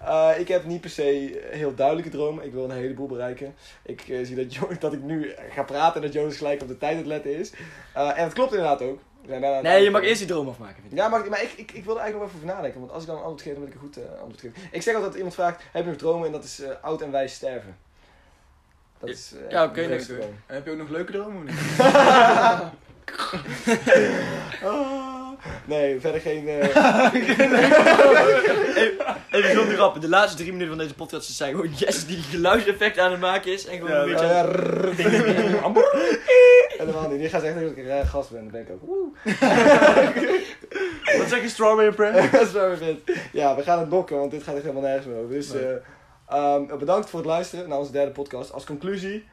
Speaker 2: Eh, ik heb niet per se heel duidelijke dromen. Ik wil een heleboel bereiken. Ik eh, zie dat, Jo- dat ik nu ga praten en dat Jonas gelijk op de tijd aan het letten is. Eh, en dat klopt inderdaad ook. We zijn bijna aan het
Speaker 3: Nee, je
Speaker 2: eind.
Speaker 3: mag eerst die droom afmaken. Vind ik.
Speaker 2: Ja, maar, ik- maar ik, ik, ik wil er eigenlijk nog even over nadenken. Want als ik dan een antwoord geef, dan moet ik een goed eh, antwoord geven. Ik zeg altijd dat iemand vraagt, heb je nog dromen? En dat is eh, oud en wijs sterven. Dat
Speaker 3: Ja,
Speaker 2: is, eh,
Speaker 3: ja, oké,
Speaker 2: de
Speaker 3: leuk,
Speaker 2: beste
Speaker 3: hoor.
Speaker 2: droom.
Speaker 4: En heb je ook nog leuke dromen of niet?
Speaker 2: Ah, nee, verder geen... eh,
Speaker 3: Even zonder grappen, de laatste drie minuten van deze podcast zijn gewoon Jess die geluidseffect aan het maken is. En gewoon een beetje...
Speaker 2: Ja, rrr, ding, ding, ding. Helemaal niet. Die gaat zeggen dat ik een rare gast ben. Dat ben ik ook. Woe.
Speaker 4: Wat zeg je, Strawberry Prem?
Speaker 2: Dat is waar we zijn. Ja, we gaan het bokken, want dit gaat echt helemaal nergens meer over. Dus
Speaker 4: Nee.
Speaker 2: eh, ehm, bedankt voor het luisteren naar onze derde podcast. Als conclusie,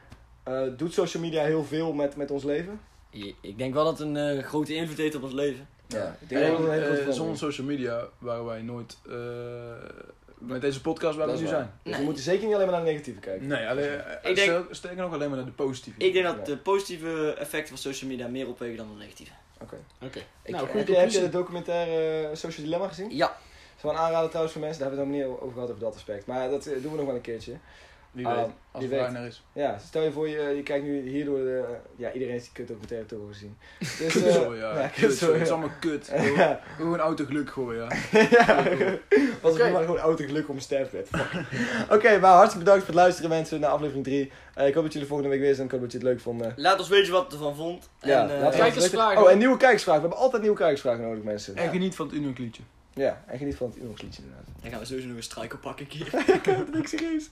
Speaker 2: eh, doet social media heel veel met, met ons leven?
Speaker 3: Ik- Ik denk wel dat het een eh, grote invloed heeft op ons leven.
Speaker 2: Ja, ik denk dat het een hele goede
Speaker 4: Eh,
Speaker 2: vorm
Speaker 4: Zonder
Speaker 2: is.
Speaker 4: social media waren wij nooit eh, met deze podcast waar Mm.
Speaker 2: Dat
Speaker 4: we
Speaker 2: is
Speaker 4: nu
Speaker 2: waar.
Speaker 4: zijn.
Speaker 2: Dus we moeten zeker niet alleen maar naar de negatieve kijken.
Speaker 4: Nee, alleen, eh,
Speaker 3: Ik
Speaker 4: ik
Speaker 3: denk-
Speaker 4: denk... steken ook alleen maar naar de positieve.
Speaker 3: Ik denk dat de positieve effecten van social media meer opwegen dan de negatieve.
Speaker 5: Oké.
Speaker 2: Ik-
Speaker 5: Nou, goede
Speaker 2: heb, je, heb je
Speaker 5: conclusie.
Speaker 2: de documentaire eh, Social Dilemma gezien?
Speaker 3: Ja,
Speaker 2: Dat is wel een aanrader trouwens voor mensen. Daar hebben we het nog niet over gehad over dat aspect. Maar dat eh, doen we nog wel een keertje.
Speaker 4: Wie
Speaker 2: Ah,
Speaker 4: weet,
Speaker 2: wie
Speaker 4: als het
Speaker 2: weet.
Speaker 4: bijna is.
Speaker 2: Ja, stel je voor, je, je kijkt nu hierdoor de... Ja, iedereen heeft die kut documentaire toch al gezien. Dus, eh,
Speaker 4: Kutzooi, ja.
Speaker 2: ja,
Speaker 4: Kutzooi,
Speaker 2: kutzooi,
Speaker 4: Het is
Speaker 2: ja.
Speaker 4: allemaal kut.
Speaker 2: ja.
Speaker 4: Gewoon auto geluk gooien, ja.
Speaker 2: ja. Was
Speaker 5: Oké.
Speaker 2: het maar gewoon auto geluk om sterfbed. Fuck. Oké, maar hartstikke bedankt voor het luisteren mensen naar aflevering 3. ik hoop dat jullie volgende week weer zijn. Ik hoop dat je het leuk vond. eh.
Speaker 3: laat ons weten wat je ervan vond.
Speaker 2: ja,
Speaker 3: en, eh,
Speaker 2: laat het
Speaker 5: kijkersvragen.
Speaker 2: even weten. Oh, en nieuwe kijkersvragen. We hebben altijd nieuwe kijkersvragen nodig mensen.
Speaker 4: En geniet van het Union liedje.
Speaker 2: Ja, en geniet van het Inox liedje inderdaad.
Speaker 3: dan gaan we sowieso nog een strijker pakken een keer.
Speaker 2: Niks serieus.